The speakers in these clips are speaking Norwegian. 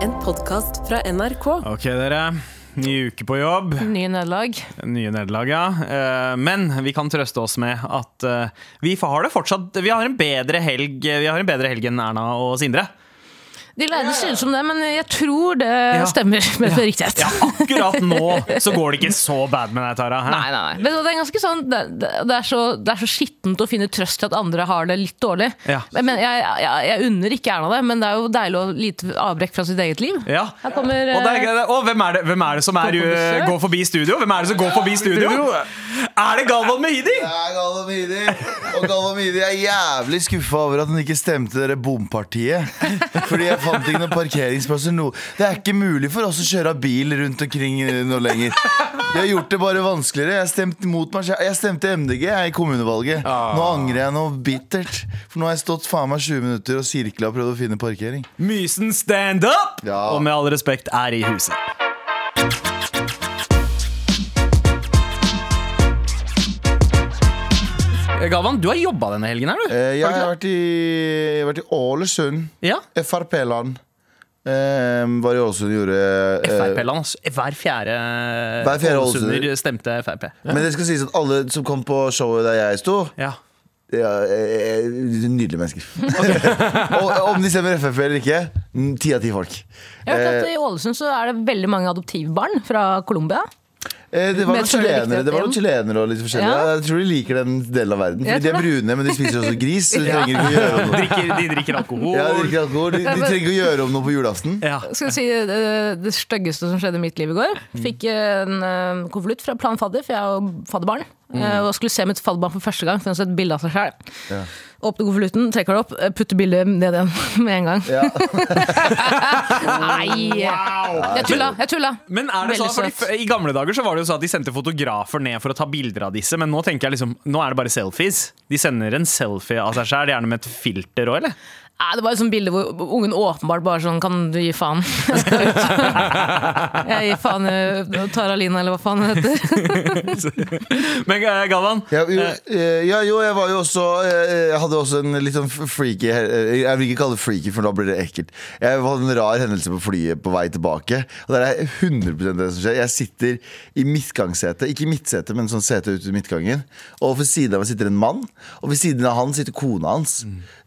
podkast fra NRK. Ok, dere. Ny uke på jobb. Nye nederlag. Nye nederlag, ja. Eh, Men vi kan trøste oss med at eh, vi har det fortsatt Vi har en bedre helg, eh, vi har en bedre helg enn Erna og Sindre. De lærde ser ut som det, men jeg tror det stemmer med riktighet. Ja, akkurat nå så går det ikke så bad med deg, Tara. hæ? Nei, nei, nei. Men det er ganske sånn det, det, det, er så, det er så skittent å finne trøst i at andre har det litt dårlig. Ja. Men jeg, jeg, jeg unner ikke Erna det, men det er jo deilig å ha lite avbrekk fra sitt eget liv. Ja. Her kommer Og, det eh, er, og hvem, er det, hvem er det som er, Går på besøk. uh, går forbi studio? Hvem er det som går forbi studio? Er det Galvan Mehidi? Det er Galvan Mehidi. Og Galvan Mehidi er jævlig skuffa over at han ikke stemte det bompartiet. Fordi jeg fant ikke noen parkeringsplasser nå. Det er ikke mulig for oss å kjøre bil rundt omkring eh, nå lenger. De har gjort det bare vanskeligere. Jeg stemte mot meg selv. Jeg stemte MDG jeg, i kommunevalget. Ah. Nå angrer jeg noe bittert. For nå har jeg stått faen meg 20 minutter og sirkla og prøvd å finne parkering. Mysen stand up! Ja. Og med all respekt er i huset. Eh, Galvan, du har jobba denne helgen her, du. Eh, Jeg Har du ikke det? har vært i, jeg har vært i Ålesund. Ja. Frp-land. Eh, var i Ålesund og gjorde eh, Frp-land, altså. Hver fjerde, Hver fjerde ålesunder ålesunder. stemte Frp. Men det skal sies at alle som kom på showet der jeg sto Ja. ja, eh, eh, Nydelige mennesker. og om de stemmer Frp eller ikke, mm, ti av ti folk. Jeg har Eh. hørt at I Ålesund så er det veldig mange adoptivbarn fra Colombia. Eh, det var Men tror noen du det er chilenere riktig at det var en- noen chilenere og litt forskjellig. Ja. Jeg tror de liker den delen av verden. Jeg Fordi de er tror brune, men de spiser også gris. Så de trenger ikke å gjøre om noe. Drikker, de drikker alkohol. Ja, de, drikker alkohol. de, de trenger ikke å gjøre om noe på julaften. Ja. Skal jeg si eh, Det, det styggeste som skjedde i mitt liv i går. Fikk eh, en eh, konvolutt fra Plan Fadder, for jeg er jo fadderbarn. eh, Og skulle se mitt fadderbarn for første gang, for hun har sett bilde av seg sjøl. Åpner konvolutten, trekker det opp, eh, putter bildet ned igjen med en gang. Ja. Nei! Jeg tulla. Jeg tulla. Men er det sånn, Veldig fordi søt. f- I gamle dager så var det jo sånn at de sendte fotografer ned for å ta bilder av disse, men nå tenker jeg liksom, nå er det bare selfies. De sender en selfie av seg sjøl, gjerne med et filter òg, eller? Nei, det var et sånt bilde hvor ungen åpenbart bare sånn Kan du gi faen? Jeg skal ut. Jeg gir faen eh, i Taralina, eller hva faen hun heter. Men eh, Galvan, Ja, jo, eh, ja, jo, jeg var jo også eh, Jeg hadde også en litt sånn freaky eh, Jeg vil ikke kalle det freaky, for da blir det ekkelt. Jeg hadde en rar hendelse på flyet på vei tilbake. Og det er 100 det som skjer. Jeg sitter i midtgangssetet. Ikke i midtsetet, men sånn sete ute i midtgangen. Og ved siden av meg sitter en mann, og ved siden av han sitter kona hans.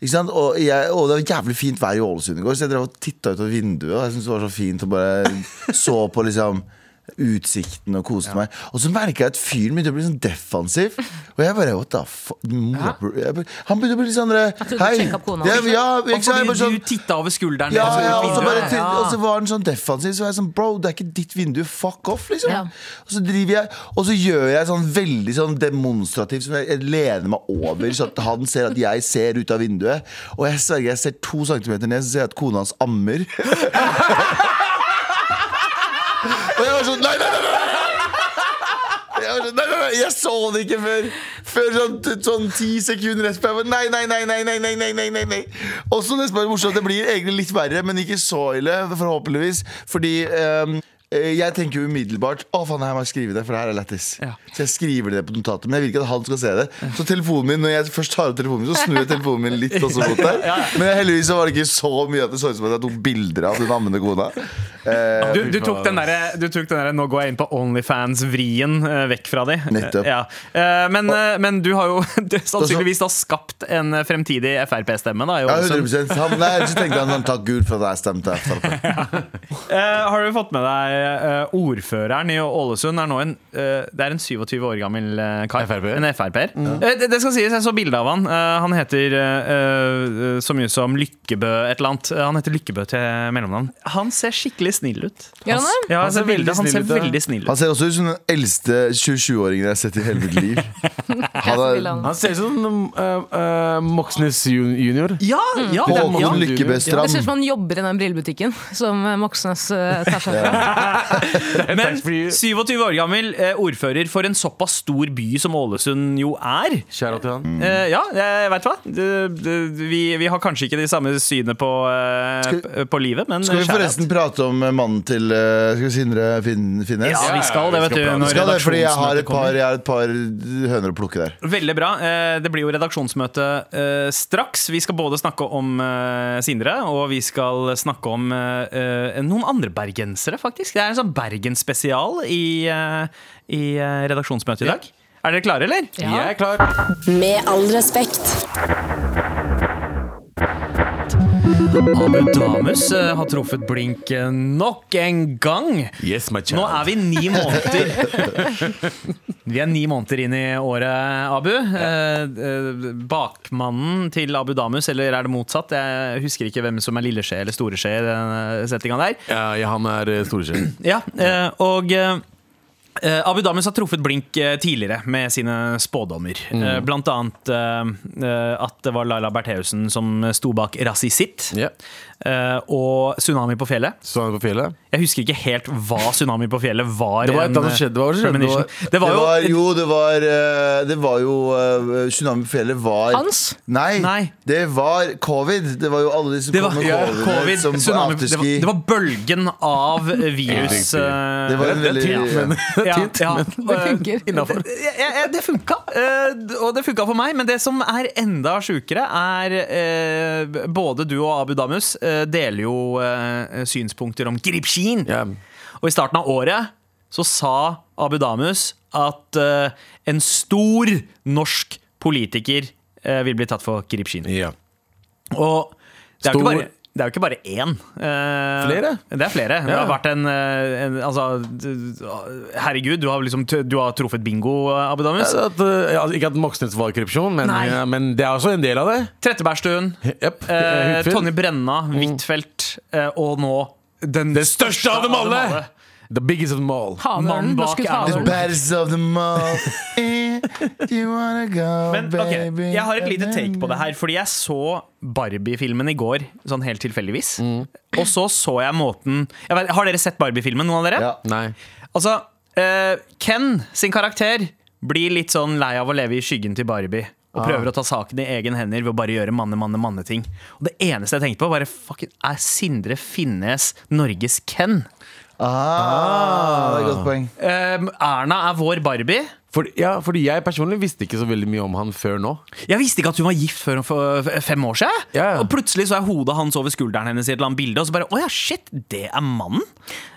Ikke sant? Og, jeg, og det var jævlig fint vær i Ålesund i går, så jeg drev og titta utover vinduet, og jeg syntes det var så fint å bare så på liksom utsikten og koste meg. Og så merka jeg at fyren begynte å bli sånn defensiv. Og jeg bare What the fuck? Mora- jeg bare- Han begynte å bli litt sånn der, trodde du Hei! sjekket opp kona Ja, hans. liksom? ja, ikke sant? Jeg fordi bare sånn, du titta over skulderen ja, og så ut ja, og, så vinduet. bare, til- og så var han sånn defensiv, så var jeg sånn Bro, det er ikke ditt vindu. Fuck off, liksom. Ja. Og så driver jeg Og så gjør jeg sånn veldig sånn demonstrativt, som jeg, jeg lener meg over, så at han ser at jeg ser ut av vinduet. Og jeg sverger, jeg ser to centimeter ned, så ser jeg at kona hans ammer. og jeg var sånn Nei, nei, nei! nei, nei. Jeg, var sånn, nei, nei, nei, jeg så det ikke før Før sånn, sånn ti sekunder etterpå. Jeg var, nei, nei, nei, nei, nei, nei, nei, nei, nei, nei. Også nesten bare morsomt. Det blir egentlig litt verre, men ikke så ille, forhåpentligvis. Fordi ehm, eh, jeg tenker jo umiddelbart Å faen, her må jeg skrive det, for det her er lættis. Ja. Så jeg skriver det på notatet, men jeg vil ikke at han skal se det. Så telefonen min, når jeg først tar opp telefonen min, så snur jeg telefonen min litt også mot der. Men heldigvis så var det ikke så mye at det så ut som at jeg tok bilder av den ammende kona. Eh, Du, du tok den derre du tok den derre, 'nå går jeg inn på Onlyfans-vrien' eh, vekk fra de. Nettopp. Eh, Ja. Eh, men, eh, men du har jo du, sannsynligvis da skapt en eh, fremtidig Frp-stemme. da i ja, Ålesund. 100 han, nei, Så tenkte han sånn, takk Gud for at jeg stemte Frp. Eh, har du fått med deg eh, ordføreren i Ålesund? Er nå en, eh, det er en 27 år gammel eh, kar. FrP-er. En Frp-er. Eh, det, det skal sies, jeg så bilde av han. Eh, han heter eh, eh, så mye som Lykkebø et eller annet. Eh, han heter Lykkebø til mellomnavn. Han ser skikkelig snill ut. Gjør han det? Ja, Han han ser ser veldig veldig, han ser snill ut, ja. veldig snill ut. Han ser også ut som den eldste 27-åringen jeg har sett i hele mitt liv. Jeg Han så er bildet av han. Han ser ut som eh, eh, Moxnes jun- junior. Ja, ja, det er, Håkon ja. Lykkebø Det ser ut Strand. som han jobber i den brillebutikken som eh, Moxnes eh, tar seg fra. Men Thanks for you. 27 år gammel eh, ordfører for en såpass stor by som Ålesund jo er. Kjære til han. Eh, ja, jeg veit hva. Du- du- vi, vi har kanskje ikke de samme synene på, eh, p- på livet, men Skal vi shout out. forresten prate om eh, mannen til eh, Skal vi si Sindre Fin Finnes? Ja, vi skal det, vet Vi skal du. prate. Når Skal det, fordi jeg har, redaksjonsmøtet et kommer. par, jeg har et par høner å plukke der. Veldig bra. Eh, Det blir jo redaksjonsmøte eh, straks. Vi skal både snakke om eh, Sindre, og vi skal snakke om eh, eh, noen andre bergensere, faktisk. Det er en sånn Bergen-spesial i, eh, i eh, redaksjonsmøtet i dag. Er dere klare, eller? Ja. Jeg er klar. Med all respekt. Abu Damus eh, har truffet blink eh, nok en gang. Yes, my Nå child. er vi ni måneder Vi er ni måneder inn i året, Abu. Eh, eh, Bakmannen til Abu Damus, eller er det motsatt? Jeg husker ikke hvem som er lille skje eller store skje i den eh, settinga der. Ja, ja, han er eh, storesjef. Ja, eh, og eh, eh, Abu Damus har truffet blink eh, tidligere med sine spådommer. Eh, Blant annet eh, eh, at det var Laila Bertheussen som sto bak Rasisitt. Ja. eh, Og Tsunami på fjellet. Så han er på fjellet. Jeg husker ikke helt hva Tsunami på fjellet var. Det var et en, eller annet eh, skjedde, hva var det skjedde? premonition. Det Det var jo var, jo, det var eh, Det var jo eh, Tsunami på fjellet var Hans? Nei, Nei. det var covid. Det var jo alle de som det var, kom med ja, covid, covid, som tsunami, det, var, afterski. det var bølgen av virus. Ja. eh, Det var en veldig- ja. Det er tynt, Ja, ja. det funker. Innenfor. Ja, ja, Det funka, eh, og det funka for meg. Men det som er enda sjukere, er eh, Både du og Abu Damus eh, deler jo eh, synspunkter om Gripskin. Ja. Og i starten av året så sa Abu Damus at eh, en stor norsk politiker eh, vil bli tatt for Gripskin. ja. Og det er jo ikke Stor- bare det er jo ikke bare én. Eh, Flere? Det er flere. Det Ja. har vært en, eh, en Altså, du- herregud, du har, liksom, t- du har truffet bingo, eh, Abu Damus. Ja, At, eh, altså, ikke at Moxnes var korrupsjon, men, Nei. ja, men det er også en del av det. Trettebergstuen, Jep. eh, Huitfeldt. Tonje Brenna, Huitfeldt eh, og nå den, Mm. Den største av dem alle! The biggest of them all. Mannen Havørnen. bak Norske er- The havørnen. baddest of them all. Eh, Do you wanna go, Men ok, baby? jeg har et lite take på det her, fordi jeg så Barbie-filmen i går, sånn helt tilfeldigvis. Mm. Og så så jeg måten jeg vet, Har dere sett Barbie-filmen, noen av dere? Ja. Nei. Altså, eh, Ken sin karakter blir litt sånn lei av å leve i skyggen til Barbie. Og Ah. prøver å ta saken i egen hender ved å bare gjøre manne, manne, manne-ting. Og det eneste jeg tenkte på, var fucking, er Sindre Finnes Norges Ken. Ah, det er et godt poeng. Eh, Erna er vår Barbie. For, ja, fordi jeg personlig visste ikke så veldig mye om han før nå. Jeg visste ikke at hun var gift før hun for f- fem år siden. Ja. Og plutselig så er hodet hans over skulderen hennes i et eller annet bilde, og så bare Å ja, shit, det er mannen?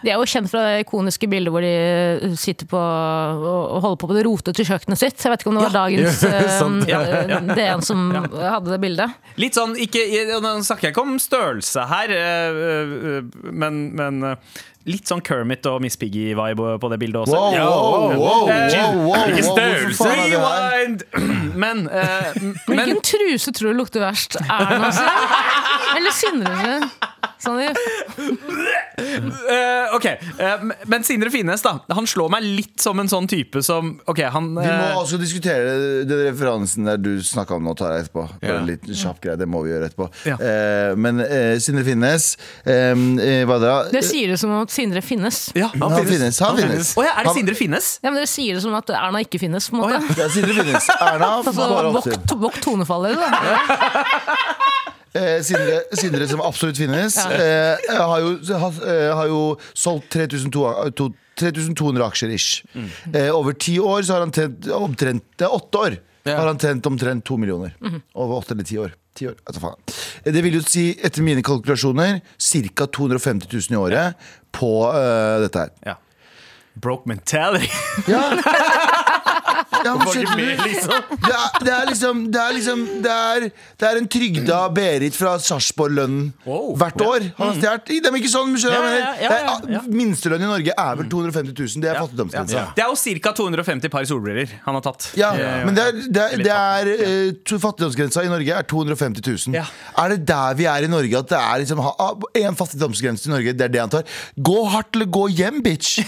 De er jo kjent fra det ikoniske bildet hvor de eh, sitter på og holder på på det rotete kjøkkenet sitt. Jeg vet ikke om det var dagens eh, sant. Ja, eh, Det en som hadde det bildet. Litt sånn, ikke, og Nå snakker jeg ikke om størrelse her, eh, eh, men, men eh, litt sånn Kermit og Miss Piggy-vibe på det bildet også. Wow, Ja, wow, wow, Eh, wow, wow, wow, hvilken hvorfor størrelse? faen er det her? Rewind! Men, eh, m- men Hvilken truse tror du lukter verst? Erna sin? Eller Sindre sin? Sånn i eh, OK. eh, men Sindre Finnes, da. Han slår meg litt som en sånn type som OK, han Vi må eh, også diskutere den referansen der du snakka om nå, tar jeg etterpå. Bare Ja. en liten kjapp greie, Det må vi gjøre etterpå. Ja. Eh, men eh, Sindre Finnes eh, eh, Hva da? Dere sier det som om at Sindre finnes. ja. Han, Å finnes. Han finnes. ja, er det Han- Sindre Finnes? Ja, men Dere sier det som at Erna ikke finnes. på en måte Altså, Ja, Sindre Finnes. Erna Så bare oppsyn. vokt, vokt tonefallet dere, da. Eh, Sindre, Sindre, som absolutt finnes, eh, har, jo, har, eh, har jo solgt 3200 to- 3200 aksjer ish. Eh, over ti år så har han tjent omtrent Det er åtte år! Ja. Har han tjent omtrent to millioner. Over åtte eller ti år. Ti år. Altså, faen. Eh, Det vil jo si, etter mine kalkulasjoner, ca. 250 000 i året på eh, dette her. Ja. Broke mentality. Ja! ja men skjønner du? Med, liksom. Det er, det er liksom Det er, liksom, det er, det er en trygda Berit fra Sarpsborg-lønnen Wow. Mm. hvert år. Han har stjålet Det er ikke sånn, men skjønner du hva jeg Ja, mener? ja, ja, ja, Det er- ja. Mm. Minstelønn i Norge er vel 250 000. Det er fattigdomsgrensa. Det er jo ca. 250 par solbriller han har tatt. Ja, Eh, men det er, det er, det er eh, to- fattigdomsgrensa i Norge er 250 000. Ja. Er det der vi er i Norge? At det er liksom ha- ah, en fattigdomsgrense i Norge? Det er det han tar. Gå hardt eller gå hjem, bitch!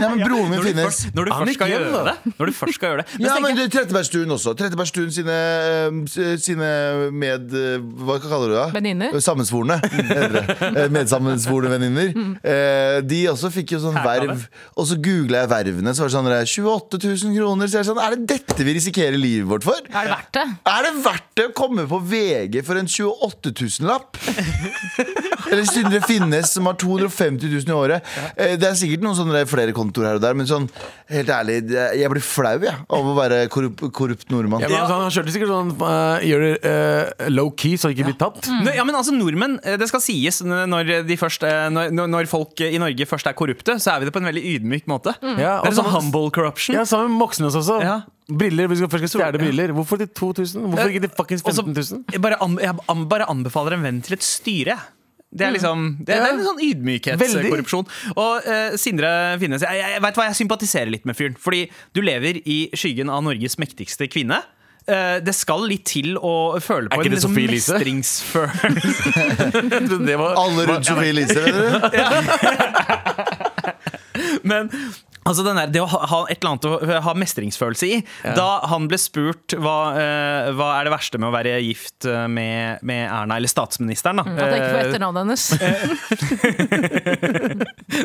Ja, men broren min Når du, finnes. først, når, du Han først gikk skal hjem, gjøre da. det, når du først skal gjøre det Men Ja, så men tenker jeg, det er Trettebergstuen også. Trettebergstuen sine, eh, s- sine med... eh, Hva kaller du det? Venninner. Eh, Sammensvorne. Mm. heter det. Eh, Medsammensvorne venninner. Eh, De også fikk jo sånn Herlig. verv. Og så googla jeg vervene, så var det sånn der, 28 000 kroner. Så jeg er sånn, er det dette vi risikerer livet vårt for? Er det verdt det? Er det verdt det å komme på VG for en 28 000-lapp? Eller siden det finnes som har 250 000 i året. Eh, Det er sikkert noen sånne flere kontoer her og der, men sånn, helt ærlig, det- jeg blir flau jeg, av å være korrupt, korrupt nordmann. Ja, men altså, han kjørte sikkert sånn eh, Gjør det eh, low key, så han ikke blir tatt. Nå- Ja, men altså Nordmenn, eh, det skal sies n- når, de først, eh, når, når- når folk eh, i Norge først er korrupte, så er vi det på en veldig ydmyk måte. Ja, det er sånn og så- humble corruption. Mm. Ja, Sammen med Moxnes også. Ja. Briller, Vi skal først skal Ja. stjele briller. Hvorfor til 2000? Hvorfor ikke til fuckings Eh, Og så- 15 000? Jeg bare, an, jeg an, bare anbefaler en venn til et styre. Det Mm. er liksom Det, det er en sånn ydmykhetskorrupsjon. Og eh, Sindre Finnes, jeg, jeg, jeg vet hva, jeg sympatiserer litt med fyren. Fordi du lever i skyggen av Norges mektigste kvinne. Eh, det skal litt til å føle på en ikke det liksom Sophie Elise? mestringsfølelse. Det var Alle rundt Sofie Elise, vet dere? Men altså den der, det å ha, ha et eller annet å ha mestringsfølelse i Da han ble spurt hva, eh, hva er det verste med å være gift eh, med, med Erna, eller statsministeren, da. Mm, At jeg ikke får Eh, etternavnet hennes.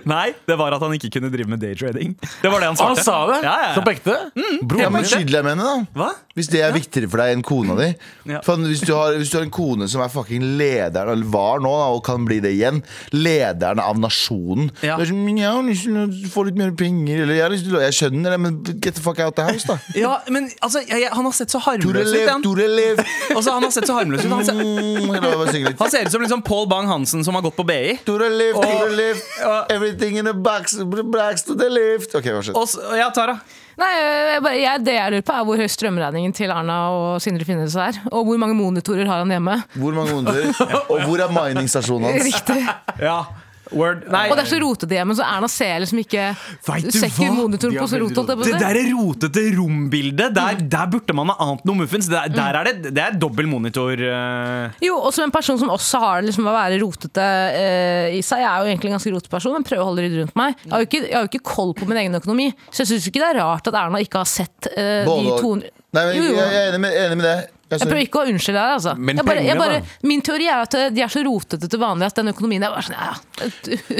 Nei, det var at han ikke kunne drive med daytrading. Det var Ah, det han Ah, Han svarte. sa det! Ja, ja, Som på ja. ekte? Bror Ja, min. men skyld deg med henne, da. Hva? Hvis det er viktigere for deg enn kona di. Ja. For hvis, du har, hvis du har en kone som er fucking lederen, eller var nå, da, og kan bli det igjen, lederen av nasjonen Ja. Det er sånn, «Men Jeg har lyst til å få litt mer penger, eller jeg, har lyst til å, jeg skjønner det, men get the fuck out the house, da. Ja, men altså, jeg, jeg, han har sett så Tore harmløs ut, lev, han. Tore lev! Altså, han har sett så harmløs ut. Han, ser- Mm, la meg bare synge litt. han ser ut som liksom Paul Bang-Hansen som har gått på BI. Tore lev, Tore Og- lev, og- everything in the box, box to the left. Ok, hva skjedde? Og, s- ja, Tara. Nei, jeg bare, jeg, Det jeg lurer på, er hvor høy strømregningen til Erna og Sindre Finnes er. Og hvor mange monitorer har han hjemme. Hvor mange onder? Og hvor er miningstasjonen hans? Riktig. Ja. Word. Nei. Og det er så rotete hjemme, så Erna ser liksom ikke Vet du Sekker hva? monitoren De på er så veldig rotete. Det der rotete rombildet, der, der burde man ha ant noe muffins. Der, der er det, det er dobbel monitor. eh. Jo, og som en person som også har det liksom å være rotete eh, i seg. Jeg er jo egentlig en ganske rotete person, men prøver å holde det rundt meg. Jeg har jo ikke, jeg har jo ikke koll på min egen økonomi, så jeg syns ikke det er rart at Erna ikke har sett eh, de Både og. 200 Nei, men Jo, jo. jeg jeg er enig med, enig med det. Jeg Jeg synes- prøver ikke å unnskylde deg, altså. Men jeg bare, jeg pengene, bare, da? min teori er at eh, de er så rotete til vanlig at den økonomien er bare sånn ja, ja,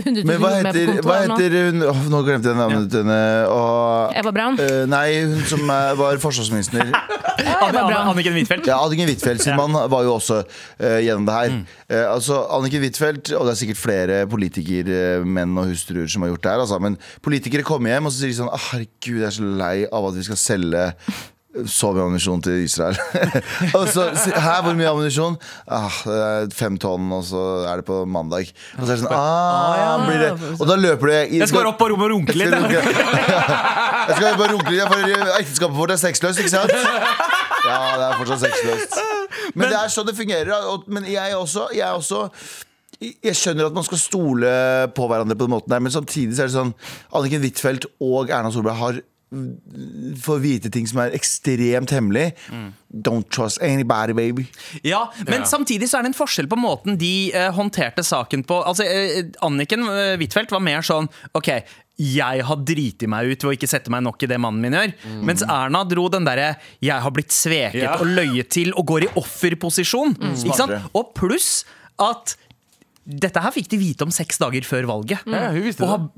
100 000 Men hva mer på heter, hva kontoen nå. heter hun Åh, Nå glemte jeg navnet henne. Og, Eva Braun. Eh, nei, hun som eh, var forsvarsminister. Ja, det var bra. Anniken Huitfeldt. Ja, Anniken Huitfeldt sin mann var jo også eh, gjennom det her. Mm. Eh, altså, Anniken Huitfeldt, og det er sikkert flere politikermenn og hustruer som har gjort det her, altså, men politikere kommer hjem og så sier de sånn «Ah, Herregud, jeg er så lei av at vi skal selge eh, så mye ammunisjon til Israel. og så Hæ, hvor mye ammunisjon? Ah, det er fem tonn, og så er det på mandag. Og så er det sånn ah, blir det. Og da løper det i- Jeg skal bare opp på rommet og runke jeg litt. skal jeg. runke. Jeg skal bare runke litt, ja, for ekteskapet vårt er sexløst, ikke sant? Ja, det er fortsatt sexløst. Men, det er sånn det fungerer. da, og- Men jeg også, jeg også jeg skjønner at man skal stole på hverandre på den måten der, men samtidig så er det sånn Anniken Huitfeldt og Erna Solberg har får vite ting som er ekstremt hemmelig. Don't trust anybody, baby. Ja, men samtidig så er det en forskjell på måten de eh, håndterte saken på. Altså, eh, Anniken eh, Huitfeldt var mer sånn OK, jeg har driti meg ut ved å ikke sette meg nok i det mannen min gjør. Mens Erna dro den derre 'jeg har blitt sveket Ja. og løyet til' og går i offerposisjon. Ikke sant? Smartere. Og pluss at dette her fikk de vite om seks dager før valget. Ja, hun visste og det. har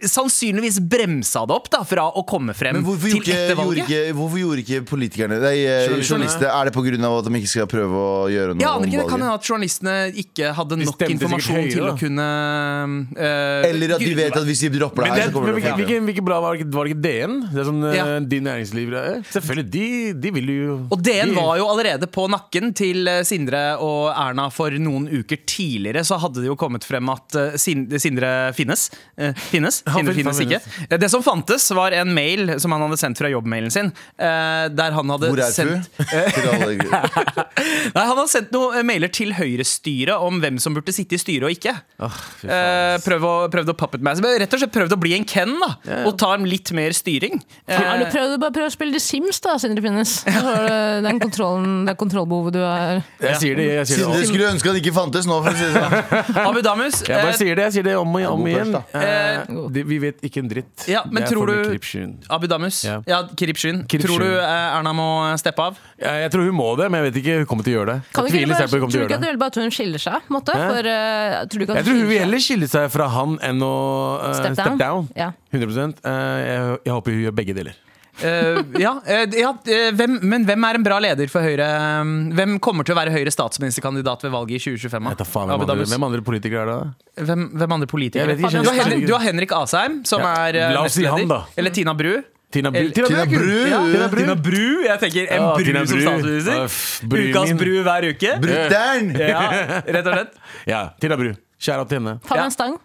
sannsynligvis bremsa det opp da fra å komme frem Men hvorfor til gjorde etter ikke, gjorde valget. ikke, hvorfor gjorde ikke politikerne nei, eh, Journalistene. journalistene, Er det pga. at de ikke skal prøve å gjøre noe Jeg aner om ikke, Det kan valget? hende at journalistene ikke hadde De nok stemte informasjon sikkert høyere, til å da. kunne eh, Eller at de vet at hvis de dropper det Men her, det- så kommer men det hvilke, frem. hvilke, hvilke bra var det, ikke- var det ikke DN? Det er sånn eh, Ja. Din Næringsliv eh, Selvfølgelig, de, de vil jo Og DN de- var jo allerede på nakken til eh, Sindre og Erna for noen uker tidligere. Så hadde det jo kommet frem at eh, Sin- Sindre finnes. Eh, finnes. Han Sindre fin- finnes han ikke. Eh, Det som fantes, var en mail som han hadde sendt fra jobbmailen sin. eh, Der han hadde Hvor er sendt fru? Til alle- Nei, Han hadde sendt noen eh, mailer til Høyre-styret om hvem som burde sitte i styret og ikke. Åh, fy faen. Eh, prøvd å, prøvd å puppet meg. Rett og slett prøvd å bli en Ken da og ta litt mer styring. Ja, Eh, du prøv, bare prøv å spille The Sims, da, Sindre Finnes. Så har du Den kontrollen, det kontrollbehovet du er Jeg sier det, jeg sier det. Sindre om- skulle ønske han ikke fantes nå. For å si det sånn. Abu Damus, Jeg bare eh, sier det, jeg sier det om og om God igjen. punch, Eh, det- vi vet ikke en dritt. Ja, men det er tror for mye du- krypsyn. Abu Damus. Ja. Ja, Kirib Shrin. Kirib Tror du Shrin. eh, Erna må steppe av? Jeg, jeg tror hun må det, men jeg vet ikke. Hun kommer til å gjøre det. Kan jeg vi ikke tviler bare, sterkt på tror at hun du ikke kommer til å at gjøre det. hun bare tror hun skiller seg? på en måte? Hæ? For, eh, tror du ikke at Jeg tror hun skiller vil seg? heller skille seg fra han enn å eh, Step step, down? down. Ja. 100 Eh, jeg, jeg håper hun gjør begge deler. Eh, ja, eh, ja eh, hvem, men hvem er en bra leder for Høyre? eh, Hvem kommer til å være Høyre statsministerkandidat ved valget i 2025? da? Jeg tar faen Abu hvem andre, Damus. hvem andre politikere er det? da? Hvem, hvem andre Jeg politikere? vet ikke, jeg du, har kjenner Henrik, ikke. du har Henrik Asheim, som Ja. er eh, La oss si nestleder. han, da. Eller Tina Bru. Tina Bru. Eller- Tina Tina Bru! Bru! Ja, Tina Bru. Tina Bru, jeg tenker En Ja, bru Tina som Bru. statsminister. Uff, bru Ukas min. Bru hver uke. Brutter'n! Ja, rett og slett. Ja, Tina Bru. Kjære til henne. Fabian Ja. Stang?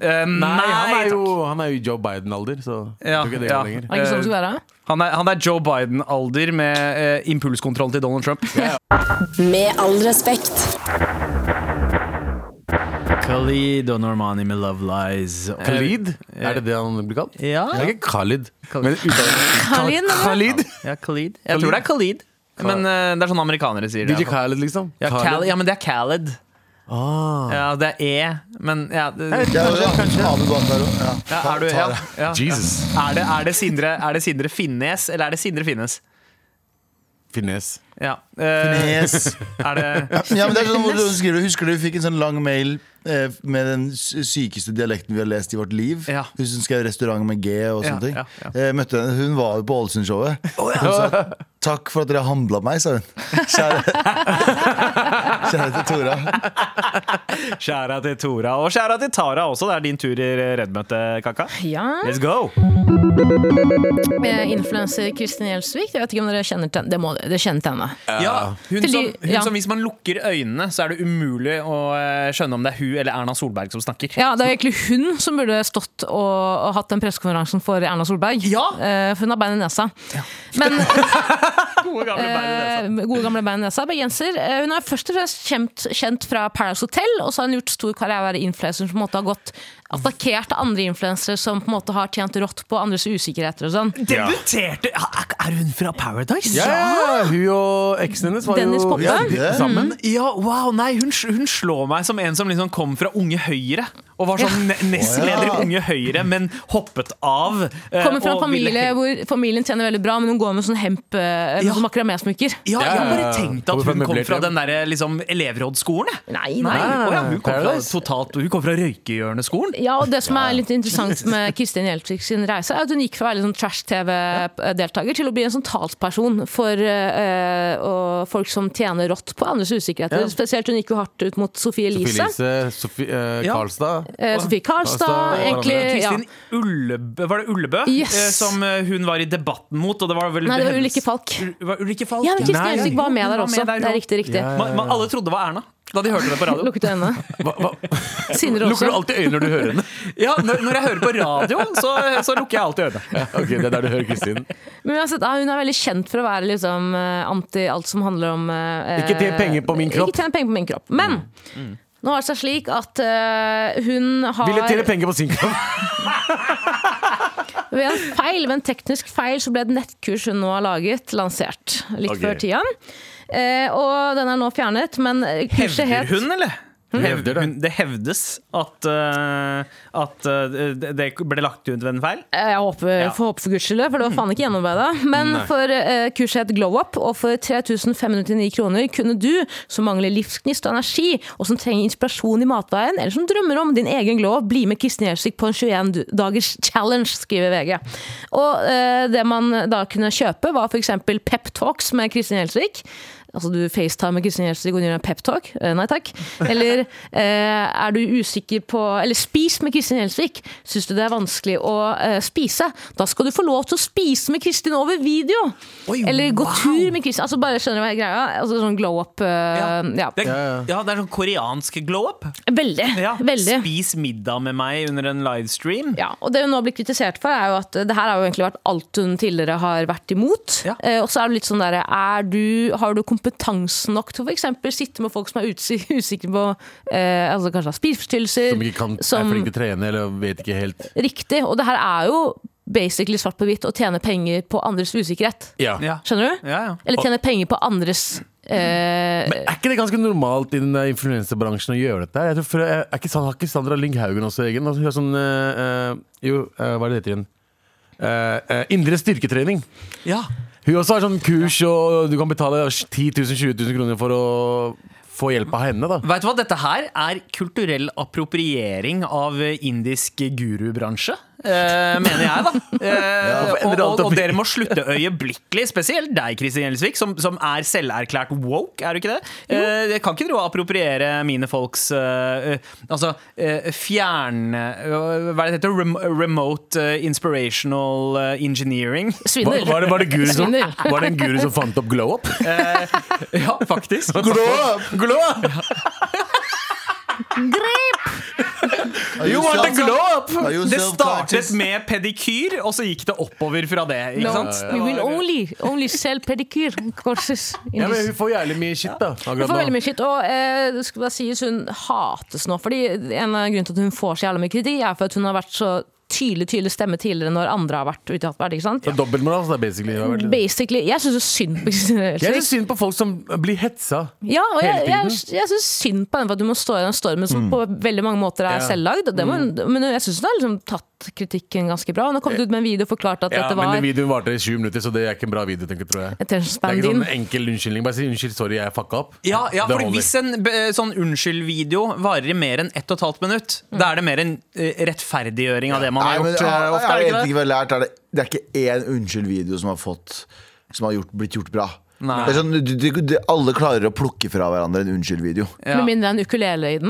Eh, Nei, han takk. er jo, han er jo Joe Biden-alder, så Ja, jeg tror ikke det ja. lenger. Er det ikke sånn det skulle være? Eh, han, er, han er Joe Biden-alder med eh, impulskontroll til Donald Trump. Med all respekt. Khalid og Normani med Love Lies. Eh, Khalid? Er det det han blir kalt? Ja. Det er ikke Khalid. Khalid. Men uttalen- Khalid, eller? Khalid? Ja, Khalid. Jeg tror det er Khalid. Men eh, det er sånn amerikanere sier DJ det. Khalid, liksom. Ja, Khalid. ja, men det er Khaled. Ah. Ja, det er E, men ja, det, Ja, ja, Abu bak der også. Ja. ja, er, du, ja, ja. Jesus. Er, det, er, det Sindre, er det Sindre Finnes, eller er det Sindre Finnes? Finnes. Ja. eh, Yes. er det Ja, men det er sånn hvor du skriver, Husker du vi fikk en sånn lang mail eh, med den sy- sykeste dialekten vi har lest i vårt liv? Ja. Hun som skrev 'restaurant med G' og Ja, sånne ting. ja, ja. Eh, møtte henne, Hun var jo på Ålesundshowet. Hun sa 'takk for at dere handla meg', sa hun. Kjære, Kjære til Tora. Skjæra til Tora, og skjæra til Tara også. Det er din tur i Redd-møte, Kaka. Ja. Let's go! Influenser Kristin Gjelsvik. Jeg vet ikke om dere kjenner til det må, dere- dere kjenner til henne. Ja, hun Til som, de- hun ja. som hvis man lukker øynene, så er det umulig å eh, skjønne om det er hun eller Erna Solberg som snakker. Ja, Det er egentlig hun som burde stått og, og hatt den pressekonferansen for Erna Solberg. Ja. Eh, for hun har bein i nesa. Men Gode gamle altså. Berlin, Eh, gode gamle bein i nesa, bergenser. Eh, Hun er først og fremst kjent, kjent fra Paradise Hotel, og så har hun gjort stor karriere influenser som på en måte har gått attakkert av andre influensere som på en måte har tjent rått på andres usikkerheter og sånn. altså. Debuterte Er er hun fra Paradise? Ja, ja, hun og eksen hennes var Dennis jo Poppe. Ja, det. sammen. Mm. Ja, wow, nei, hun, hun slår meg som en som liksom kom fra Unge Høyre. Og var sånn ne- nestleder i Å, ja. Unge Høyre, men hoppet av. eh, Kommer fra en og ville- familie hvor familien tjener veldig bra, men hun går med sånn hemp eh, Ja. sånn makramé-smykker. Ja, jeg har Ja, bare ja, ja. tenkt at Kommer fra hun kom møblert fra den hjem. der liksom, elevrådsskolen. jeg. Nei, Nei, nei. å ja, hun kom fra, Paradise. totalt, hun kom fra røykehjørneskolen. Ja, og det som er litt interessant med Kristin Gjelsvik sin reise, er at hun gikk fra å være litt sånn trash-TV-deltaker til å bli en sånn talsperson for eh, og folk som tjener rått på andres usikkerheter. Ja. Spesielt hun gik jo hardt ut mot Sofie Sophie Elise. Elise, Sophie eh, Ja. Karlstad. Eh, Sofie Karlstad, Karlstad, ja. egentlig ja. Kristin Ullebø, var det Ullebø Yes. eh, som eh, hun var i debatten mot? Og det var vel Nei, det var hennes- Ulrikke Falk. Ul- var Ulrikke Falk? Ja, men Kristin Nei, Gjelsvik var med hun der også. med der Det er også. riktig, riktig. Ja, Ma- ma- alle trodde det var Erna da de hørte det på radio. Lukket øynene. Hva, hva? Sindre Lukker du også. alltid øynene når du hører henne? Ja, når, når jeg hører på radio, så, så lukker jeg alltid ørene. Ja, ok, Det er der du hører Kristin. Men uansett, ja, hun er veldig kjent for å være liksom, eh, anti alt som handler om eh, Ikke tjen penger på min kropp. Ikke tjene penger på min kropp. Men nå har det seg slik at eh, hun har Ville tjene penger på sin kropp. Ved en feil, ved en teknisk feil, så ble et nettkurs hun nå har laget, lansert. Litt Ok. før tida. Eh, og den er nå fjernet, men kurset Hevder het hun, eller? Hevder det. hun, det hevdes at, eh, at eh, det- det ble lagt ut ved en feil. Eh, Jeg håper, Ja. får håpe for guds skyld, for det var faen ikke gjennomarbeida. Men for eh, kurset het Glow Up, og for 3599 kroner kunne du, som mangler livsgnist og energi, og som trenger inspirasjon i matveien, eller som drømmer om din egen glow up, bli med Kristin Gjelsvik på en 21 dagers challenge, skriver VG. Og eh, det man da kunne kjøpe, var f.eks. Pep Talks med Kristin Gjelsvik. Altså du facetimer Kristin Gjelsvik og hun gjør en peptalk? Eh, nei takk. Eller eh, er du usikker på Eller spis med Kristin Gjelsvik. Syns du det er vanskelig å eh, spise? Da skal du få lov til å spise med Kristin over video! Oi, eller gå wow. tur med Kristin. Altså bare Skjønner du hva er greia? Altså Sånn glow up. Eh, ja. Det, er- ja, det er sånn koreansk glow up. Veldig. Ja. Veldig. Spis middag med meg under en livestream. Ja, og Det hun nå blir kritisert for, er jo at det her har jo egentlig vært alt hun tidligere har vært imot. Ja. Eh, og så er det litt sånn derre er du- Har du kompetanse nok til f.eks. sitte med folk som er utsi- usikre på eh, altså kanskje har spiseforstyrrelser? Som ikke kan, er som- flink til å trene eller vet ikke helt. Riktig. Og det her er jo basically svart på hvitt og tjene penger på andres usikkerhet. Ja. Ja. Skjønner du? Ja, ja. Eller tjene penger på andres eh, Er ikke det ganske normalt i den der influensebransjen å gjøre dette? her? Jeg tror, for, er ikke, Sand- har ikke Sandra Lyng Haugen også egen? Altså, Hun er sånn eh, eh, Jo, eh, hva er det det heter igjen? Eh, eh, indre styrketrening. Ja. Hun også har sånn kurs, og du kan betale 10 000-20 000 kroner for å få hjelp av henne. da Vet du hva, dette her er kulturell appropriering av indisk gurubransje. Eh, mener jeg, da. Eh, og, og, og dere må slutte øyeblikkelig, spesielt deg, Kristin Gjelsvik, som, som er selverklært woke, er du ikke det? Eh, jeg kan ikke dere appropriere mine folks eh, eh, Altså eh, fjern... eh, hva er det det heter? Rem remote eh, inspirational eh, engineering. Var, svindel. var, det, var, det guru som, Svindel. var det en guru som fant opp glow up? Ja, faktisk. Glow up! You want to glow up! Are you altså. Det startet self-conscious? med pedikyr, og så gikk det oppover fra det. ikke No, sant? we will only, only sell pedicure courses. in Ja, this- men Hun får jævlig mye shit, da. Hun får Akkurat veldig nå. mye shit, og eh, det skal bare sies hun hates nå. Fordi En av grunnene til at hun får så jævlig mye kritikk, er for at hun har vært så tydelig tydelig stemme tidligere når andre har vært ute i atferd. ikke sant? Så Dobbeltmoral, så det er basically. det har vært litt- Basically, Jeg syns jo synd på Kristine Jeg Gjelsvik. syns synd på folk som blir hetsa. Ja, og jeg, hele jeg, tiden. Mm. jeg syns synd på henne for at hun må stå i den stormen som på veldig mange måter er Ja. Mm. selvlagd. og det må hun- Men jeg syns hun har liksom tatt kritikken ganske bra. Hun har kommet ut med en video og forklart at Eh. Ja, dette men var den videoen varte i sju minutter, så det er ikke en bra video. tenker jeg, tror jeg. attention Det er span ikke din. sånn enkel unnskyldning. Bare si unnskyld, sorry, jeg fucka opp. Ja, ja Det for holder. hvis en eh, sånn unnskyld-video varer i mer enn ett og et halvt minutt, da er det mer en eh, rettferdiggjøring av det man Nei, har men gjort. jeg, eh, jeg, ofte, er det ikke vet det? ikke hva jeg har lært er det, det er ikke én unnskyld-video som har fått Som har gjort, blitt gjort bra. Nei. Det er sånn, du, du, du, alle klarer å plukke fra hverandre en unnskyld-video. Ja. Med mindre det er en ukulele i den.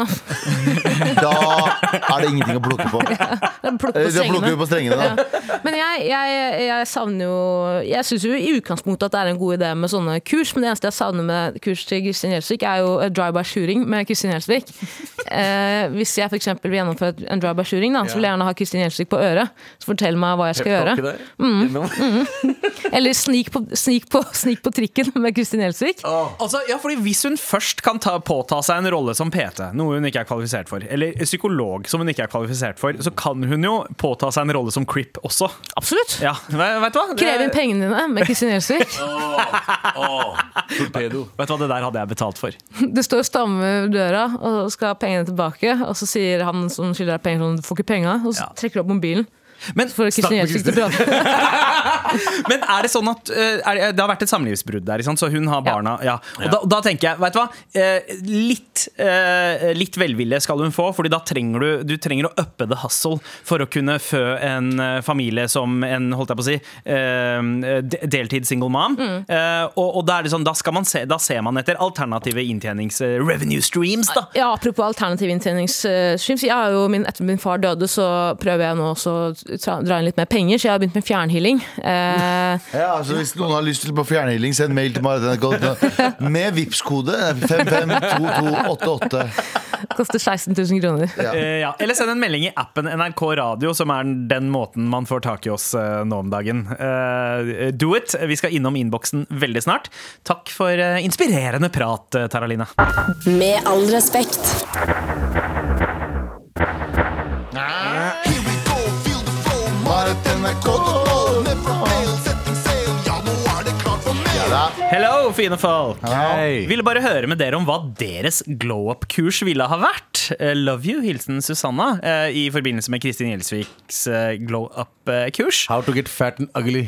da. Da er det ingenting å plukke på. Den Eh, plukker Eller, på Da plukker vi strengene. på strengene, da. Men jeg, jeg, jeg savner jo Jeg syns jo i utgangspunktet at det er en god idé med sånne kurs, men det eneste jeg savner med kurs til Kristin Gjelsvik, er jo a drive-by shooting med Kristin Gjelsvik. Eh, hvis jeg f.eks. vil gjennomføre et- en drive-by shooting, da, så vil jeg gjerne ha Kristin Gjelsvik på øret. Så fortell meg hva jeg skal Mm. Takk gjøre. i deg. Gjennom. Eller snik på, snik på, snik på trikken med Kristin Gjelsvik. Altså, ja, fordi Hvis hun først kan ta, påta seg en rolle som PT, noe hun ikke er kvalifisert for, eller psykolog, som hun ikke er kvalifisert for, så kan hun jo påta seg en rolle som crip også. Absolutt! Ja, ve- vet du hva? Det- Krev inn pengene dine med Kristin Gjelsvik. Torpedo. Vet du hva, Det der hadde jeg betalt for. Du står og stammer ved døra og skal ha pengene tilbake, og så sier han som skylder deg penger, sånn 'du får ikke penga', og så Ja. trekker du opp mobilen. Men, For Kristin med Gjelsvik til å prate. Men er det sånn at eh, er det, det har vært et samlivsbrudd der, ikke sant? så hun har barna ja. Og Da, da tenker jeg, vet du hva Eh, Litt, eh, litt velvilje skal hun få, Fordi da trenger du, du trenger å uppe the hustle for å kunne fø en eh, familie som en, holdt jeg på å si, eh, de- deltids single mom. Eh, og, og da er det sånn, da, skal man se, da ser man etter alternative inntjenings eh, revenue streams, da. Ja, apropos alternative inntjeningsstreams. Jeg har jo min, etter min far døde, så prøver jeg nå også å tra- dra inn litt mer penger, så jeg har begynt med fjernhealing. Eh, Ja, altså Hvis noen har lyst til på fjernhealing, send mail til Marit NRK. Med Vipps kode 552288. koster 16 000 kroner. Ja. Eh, ja. Eller send en melding i appen NRK Radio, som er den måten man får tak i oss eh, nå om dagen. Eh, do it. Vi skal innom innboksen veldig snart. Takk for eh, inspirerende prat, eh, Taraline. Med all respekt. Marit NRK Ja, da. Hello, fine folk! Hei. Ville bare høre med dere om hva deres glow up-kurs ville ha vært. Eh, love you, hilsen Susanna, eh, i forbindelse med Kristin Gjelsviks eh, glow up-kurs. How to get fat and ugly.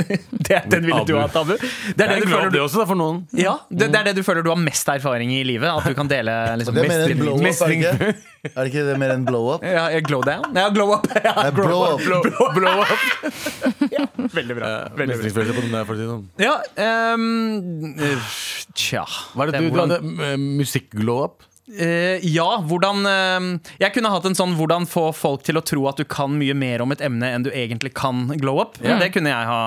Det er den ville du ha, Tabu. Det er det du føler du også, da, for noen. ja, det, det er det du føler du har mest erfaring i livet? At du kan dele liksom, Det er mer mest- enn blow up, er det mestring. ikke? Er det ikke det mer enn blow up? Ja, ja, glow down? Ja, glow up. Ja, Nei, blow up. blow, blow up. ja, veldig bra. Veldig bra. Mestringsfølelse på den der, for å si det sånn. Ja, ehm, uff, tja Hva er det du, du hvordan, hadde? eh, Musikk-glow up? Eh, Ja, hvordan ehm, Jeg kunne hatt en sånn 'hvordan få folk til å tro at du kan mye mer om et emne enn du egentlig kan glow up'. Det kunne jeg ha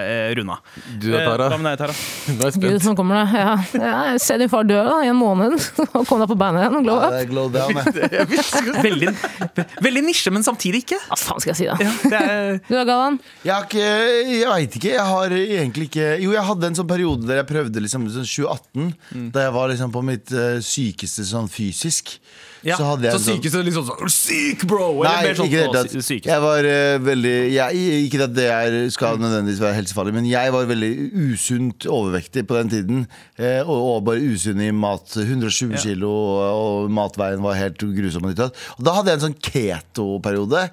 uh, runda. Du Eh, da, Tara? Hva med deg, Tara? Nå er jeg Gud, spent. sånn kommer det. Ja. Ja, se din far dø da, i en måned, og kom deg på beinet igjen og glow Ja, up. det er glow down, jeg. Veldig, veldig nisje, men samtidig ikke. Hva faen skal jeg si, da? Ja, det er Du da, Galvan? Jeg, har ikke, jeg vet ikke. Jeg har egentlig ikke Jo, jeg hadde en sånn periode der jeg Mm. prøvde liksom sånn 2018, da jeg var liksom på mitt eh, sykeste sånn fysisk. Ja. så hadde jeg en så sånn- sykeste er liksom sånn Syk, bro! Nei, Eller mer ikke sånn i det hele «Å, tatt. sy- sykeste. Jeg var eh, veldig jeg, Ikke at det er, skal nødvendigvis være helsefarlig, men jeg var veldig usunt overvektig på den tiden. eh, og, og bare usunn i mat. 120 kilo, og, og matveien var helt grusom. Og ditt og datt. Og da hadde jeg en sånn keto-periode.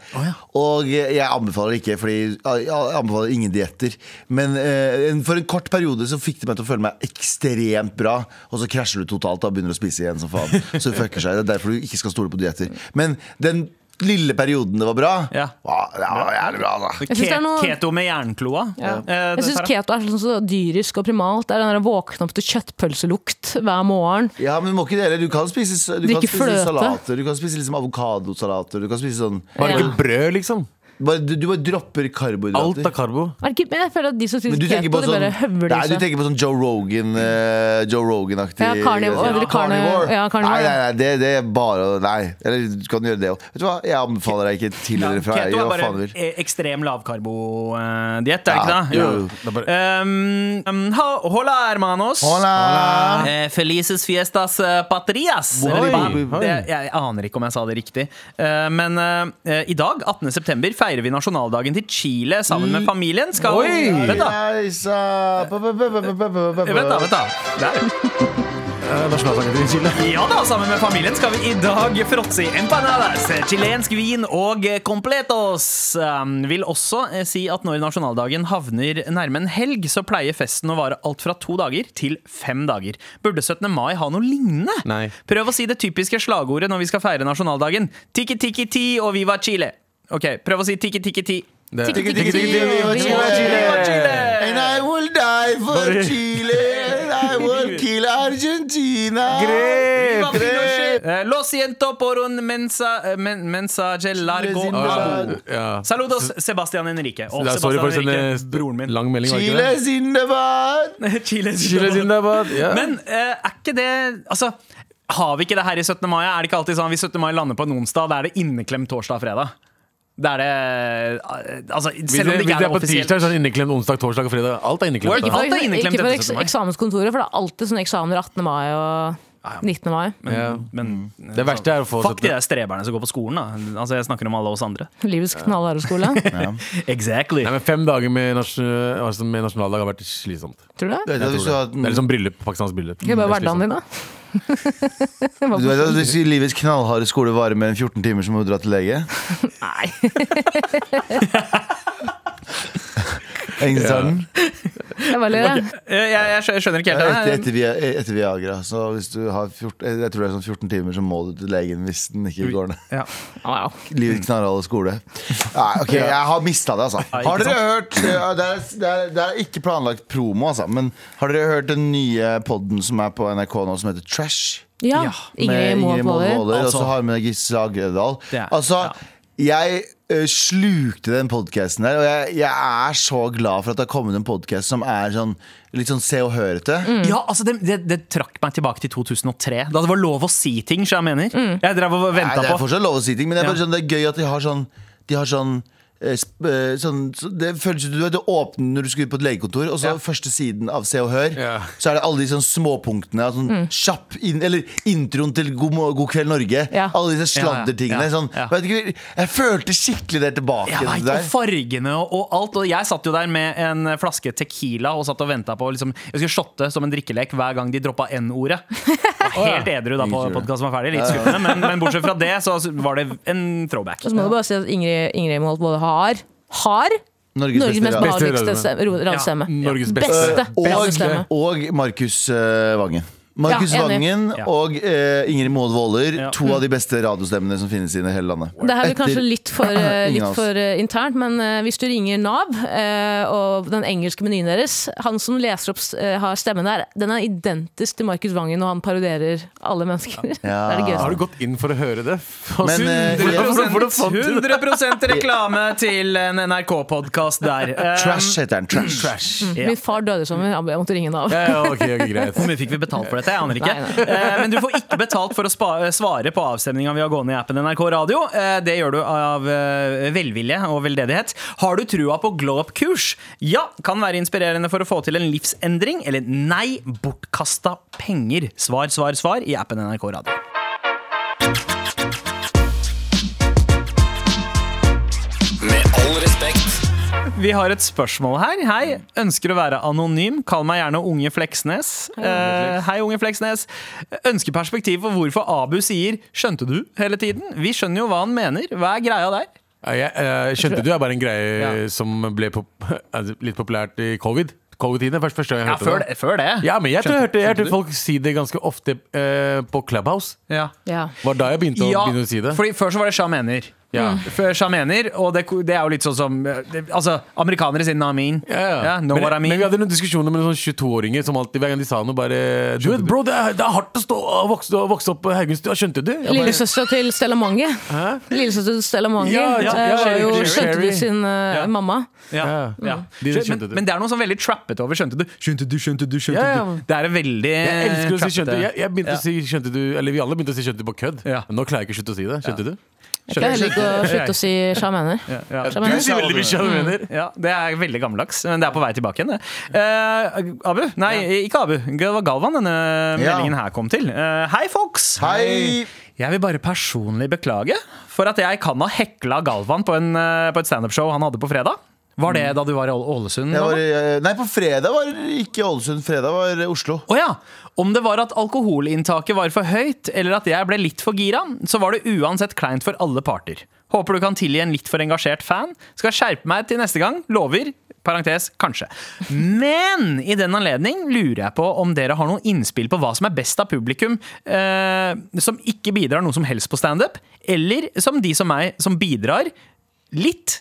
Og eh, jeg anbefaler ikke, fordi jeg anbefaler ingen dietter. Men eh, en- for en kort periode så fikk det meg til å føle meg ekstremt bra, og så krasjer du totalt da, og begynner å spise igjen som faen. Så det fucker seg. Det er derfor du ikke skal stole på dietter. Men den lille perioden det var bra, Ja. var, det var jævlig bra, da. Jeg synes det er Ke- noe- Keto med jernkloa. Eh, Jeg syns dette her. keto er sånn så dyrisk og primalt. Det er den der våkne opp til kjøttpølselukt hver morgen. Ja, men du må ikke det heller. Du kan spise, du kan Drikke spise fløte. salater. Du kan spise liksom avokadosalater. Du kan spise sånn Bare Ja. ikke brød, liksom. bare, du, du bare dropper Alt karbohydrater. er karbo. Er det ikke, men jeg føler at de som Men spiser du tenker, keto, på de sånn, bare høvler nei, du i seg. tenker på sånn Joe Rogan eh, Joe Rogan-aktig Ja, carnivore, eller carni- ja, carnivore, Nei, ja. nei, nei, det, det er bare å- Nei. Eller du kan gjøre det òg. Vet du hva, jeg anbefaler deg ikke til eller fra. Keto er Gjør hva faen bare du vil. e- ekstrem lavkarbodiett, er det Ja, ikke det? jo, jo. Det er bare- Um, um, ho- hola, hermanos. Hola! Eh, Felices fiestas eh, patrias. Oi, Eller hva? oi. Det, jeg aner ikke om jeg sa det riktig. Eh, men eh, eh, i dag, 18.9, feirer vi nasjonaldagen til Chile sammen med familien. Skal Oi! Vent, da. Reisa Ba, ba, ba, ba, ba, ba, ba, ba. Vent, da. vent da Der. Eh, Nasjonalsangen til Chile. Ja da, sammen med familien skal vi i dag fråtse i empanadas, chilensk vin og completos. Um, Vil også eh, si at når nasjonaldagen havner nærme en helg, så pleier festen å vare alt fra to dager til fem dager. Burde 17. mai ha noe lignende? Nei. Prøv å si det typiske slagordet når vi skal feire nasjonaldagen. Tiki tiki ti og viva Chile. Ok, prøv å si tiki tiki ti. Det- Tikki, tikki, Tikki, tikki, tikki, Viva tikki, Chile! tikki, tikki. Viva Chile! And I will die for Chile And I will kill Argentina Viva Grep! Pinochet! Eh, Lo siento por un mensa, eh, men, mensaje largo Sin- a- Ja. Saludos, Sebastian Enrique. Og Det er- Sorry Sebastian for Enrique, en broren min. lang melding. var det ikke Chile det? Zindabad Chile, Chile sin der, bare- ja. Men eh, er ikke det Altså, har vi ikke det her i 17. mai? Er det ikke alltid sånn hvis 17. mai lander på en onsdag, da er det inneklemt torsdag og fredag? Da er det eh, Altså, Hvis selv om det det, hvis ikke det er er på offisielt. tirsdag, så er det inneklemt onsdag, torsdag og fredag. Alt er Work inneklemt. it da. out. Alt er Ikke- inneklemt Ikke på etter eks- 17. mai. eksamenskontoret, for det er alltid sånne eksamener 18. mai og 19. mai. Ja. Mm. Men Det verste er å få fuck de der streberne som går på skolen, da. Altså, jeg snakker om alle oss andre. Eh, Livets knallharde skole. Exactly. Nei, men Fem dager med, nasjon, altså med nasjonaldag har vært slitsomt. Tror du det? Du vet at hvis du har- Det er liksom bryllup, pakistansk bryllup. Det er bare hverdagen din, da. du vet at hvis livets knallharde skole varer mer enn 14 timer, så må du dra til lege. Nei. Engelsestarten. Det er veldig Eh, Jeg, jeg skjø- skjønner ikke helt Etter, det. etter, Via- etter Viagra. Så hvis du har 14, jeg tror det er sånn 14 timer, så må du til legen hvis den ikke går ned. Ja. Wow. Livets knallharde skole. Nei, ok, jeg har mista det, altså. ikke Har dere hørt det er, det, er, det er ikke planlagt promo, altså, men har dere hørt den nye podden som er på NRK nå, som heter Trash? Ja. Ja, Ingrid Moa Påler. Waaler, Og Altså- så har vi med Gisle Agredal. Det er- Altså, jeg ø, slukte den podkasten der, og jeg, jeg er så glad for at det har kommet en podkast som er sånn litt sånn se og hørete. Ja, altså det, det, det trakk meg tilbake til 2003, da det var lov å si ting. Så jeg mener Mm. Jeg drev og Nei, venta det er på fortsatt lov å si ting, men det er, bare Ja. sånn, det er gøy at de har sånn De har sånn eh, sp- eh, Sånn, så det føles ut du vet, du åpner når du skal ut på et legekontor, og så første siden av Se og Hør, Ja. så er det alle de sånn småpunktene. av Sånn, Kjapp inn, eller introen til God, mo- God kveld, Norge. Ja. Alle disse sladdertingene. Ja, ja, Sånn, ja. vet ikke, jeg følte skikkelig det tilbake. jeg vet, det og der. fargene og, og alt. Og jeg satt jo der med en flaske tequila og satt og venta på liksom, Jeg skulle shotte som en drikkelek hver gang de droppa N-ordet. Jeg var Helt edru da på podkasten var ferdig. Litt skuffende, men, men bortsett fra det så var det en throwback. Og så må du bare si at Ingrid, Ingrid Moa Påler har har Norges, Norges mest beste radio. behageligste Beste se- ro- radiostemme. Norges beste. Beste radiostemme. Og, og Markus eh, Vangen. Markus Ja, enig. Vangen Ja. og eh, Ingrid Maud Waaler. Ja. To av de beste radiostemmene som finnes i hele landet. Det her blir Etter- kanskje litt for, eh, Ingen av litt oss. for eh, internt, men eh, hvis du ringer Nav eh, og den engelske menyen deres Han som leser opp s- eh, har stemmen der, den er identisk til Markus Vangen, og han parodierer alle mennesker. Det er Ja. det Har gøyeste. du gått inn for å høre det? Men, eh, Hvordan- hvordan fant du det? 100 reklame til en NRK-podkast der. Eh, Trash heter den. Trash. ja. Min far døde i sommer, jeg måtte ringe Nav. Ja, ja, ok, ok, greit. eh, Hvor mye fikk vi betalt for dette? Jeg aner ikke. Nei, Eh, Men du får ikke betalt for å spa eh, svare på avstemninga vi har gående i appen NRK Radio. Eh, Det gjør du av eh, velvilje og veldedighet. Har du trua på glow up-kurs? Ja, kan være inspirerende for å få til en livsendring. Eller nei, bortkasta penger. Svar, svar, svar i appen NRK Radio. vi har et spørsmål her. Hei, ønsker å være anonym. Kall meg gjerne Unge Fleksnes. Eh, hei, Unge Fleksnes. Ønsker perspektiv for hvorfor Abu sier 'skjønte du' hele tiden. Vi skjønner jo hva han mener. Hva er greia der? Ja, Jeg, eh, skjønte du er bare en greie Ja. som ble pop altså, litt populært i covid? Covid-tiden først, første gang jeg Ja, hørte før, det. det- før det. Ja, men jeg tror jeg hørte, jeg skjønte hørte du? folk si det ganske ofte eh, på Clubhouse. Ja. Ja. Var da jeg begynte å, Ja, begynne å si det. fordi Mm. før så var det shamener. Ja. Før shamener, og det, det er jo litt sånn som det, Altså, amerikanere sier 'namin'. Ja, ja. know men, what I mean? men vi hadde noen diskusjoner med noen sånne 22-åringer som alltid hver gang de sa noe, bare Du vet, bro, det er, det er hardt å stå, å vokse, å vokse opp på Haugenstua, skjønte du? Jeg bare- Lillesøster til Stella Mange. Lillesøster til Stella Mange Ja, ja, eh, var Sherry- jo Sherry. skjønte du sin eh, Ja. mamma. Ja, Ja. ja. De skjønte Men, det. men det er noe sånn veldig trappet over. Skjønte du? Skjønte du, skjønte du, skjønte Ja, ja. du. Det er en veldig Jeg elsker å si trappete- skjønte du. Jeg, jeg begynte eh, Ja. å si skjønte du Eller vi alle begynte å si skjønte du på kødd. Ja. Men nå klarer jeg ikke å slutte å si det. Skjønte du? Jeg pleier heller ikke å slutte å si sjamener. Ja, ja. Skjønner du? Du sier veldig mye hva du mener. Mm. Ja, det er veldig gammeldags, men det er på vei tilbake igjen. det. Eh, Abu? Nei, ikke Abu. Det var Galvan denne Ja. meldingen her kom til. Eh, hei, folks! Hei! Jeg vil bare personlig beklage for at jeg kan ha hekla Galvan på, en, eh, på et standup-show han hadde på fredag. Var det da du var i Ål- Ålesund? Mm. Jeg Galvan? var, i- eh, nei, på fredag var det ikke Ålesund. Fredag var Oslo. Å ja! Om det var at alkoholinntaket var for høyt, eller at jeg ble litt for gira, så var det uansett kleint for alle parter. Håper du kan tilgi en litt for engasjert fan. Skal skjerpe meg til neste gang. Lover. Parentes kanskje. Men i den anledning lurer jeg på om dere har noen innspill på hva som er best av publikum eh, som ikke bidrar noe som helst på standup, eller som de som meg, som bidrar litt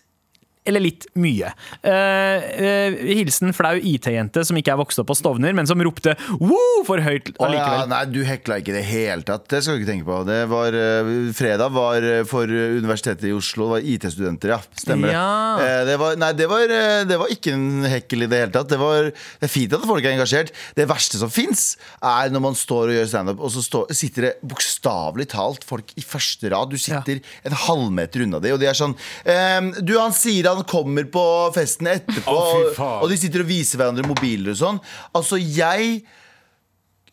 eller litt mye. Eh, eh, hilsen flau IT-jente som ikke er vokst opp på Stovner, men som ropte woo for høyt Å ja, allikevel. nei, du hekla ikke i det hele tatt. Det skal du ikke tenke på. Det var, eh, fredag var eh, for eh, Universitetet i Oslo. Det var IT-studenter, ja. Stemmer det. Ja. Eh, det. Var, nei, det var, eh, det var ikke en hekkel i det hele tatt. Det, var, det er fint at folk er engasjert. Det verste som fins, er når man står og gjør standup, og så står, sitter det bokstavelig talt folk i første rad. Du sitter en halvmeter unna dem, og de er sånn ehm, Du, han sier han kommer på festen etterpå, Å, fy og, faen. og de sitter og viser hverandre mobiler og sånn. Altså, jeg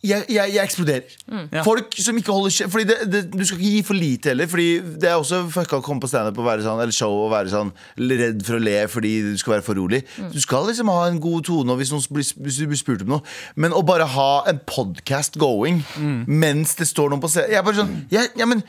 jeg, jeg, jeg eksploderer. Folk som ikke holder kje- Fordi det, det, Du skal ikke gi for lite heller. Fordi Det er også fucka å komme på standup og være sånn Eller show og være sånn redd for å le fordi du skal være for rolig. Du skal liksom ha en god tone og hvis, noen blir, hvis du blir spurt om noe. Men å bare ha en podcast going mens det står noen på scenen Jeg er bare sånn jeg, ja, men,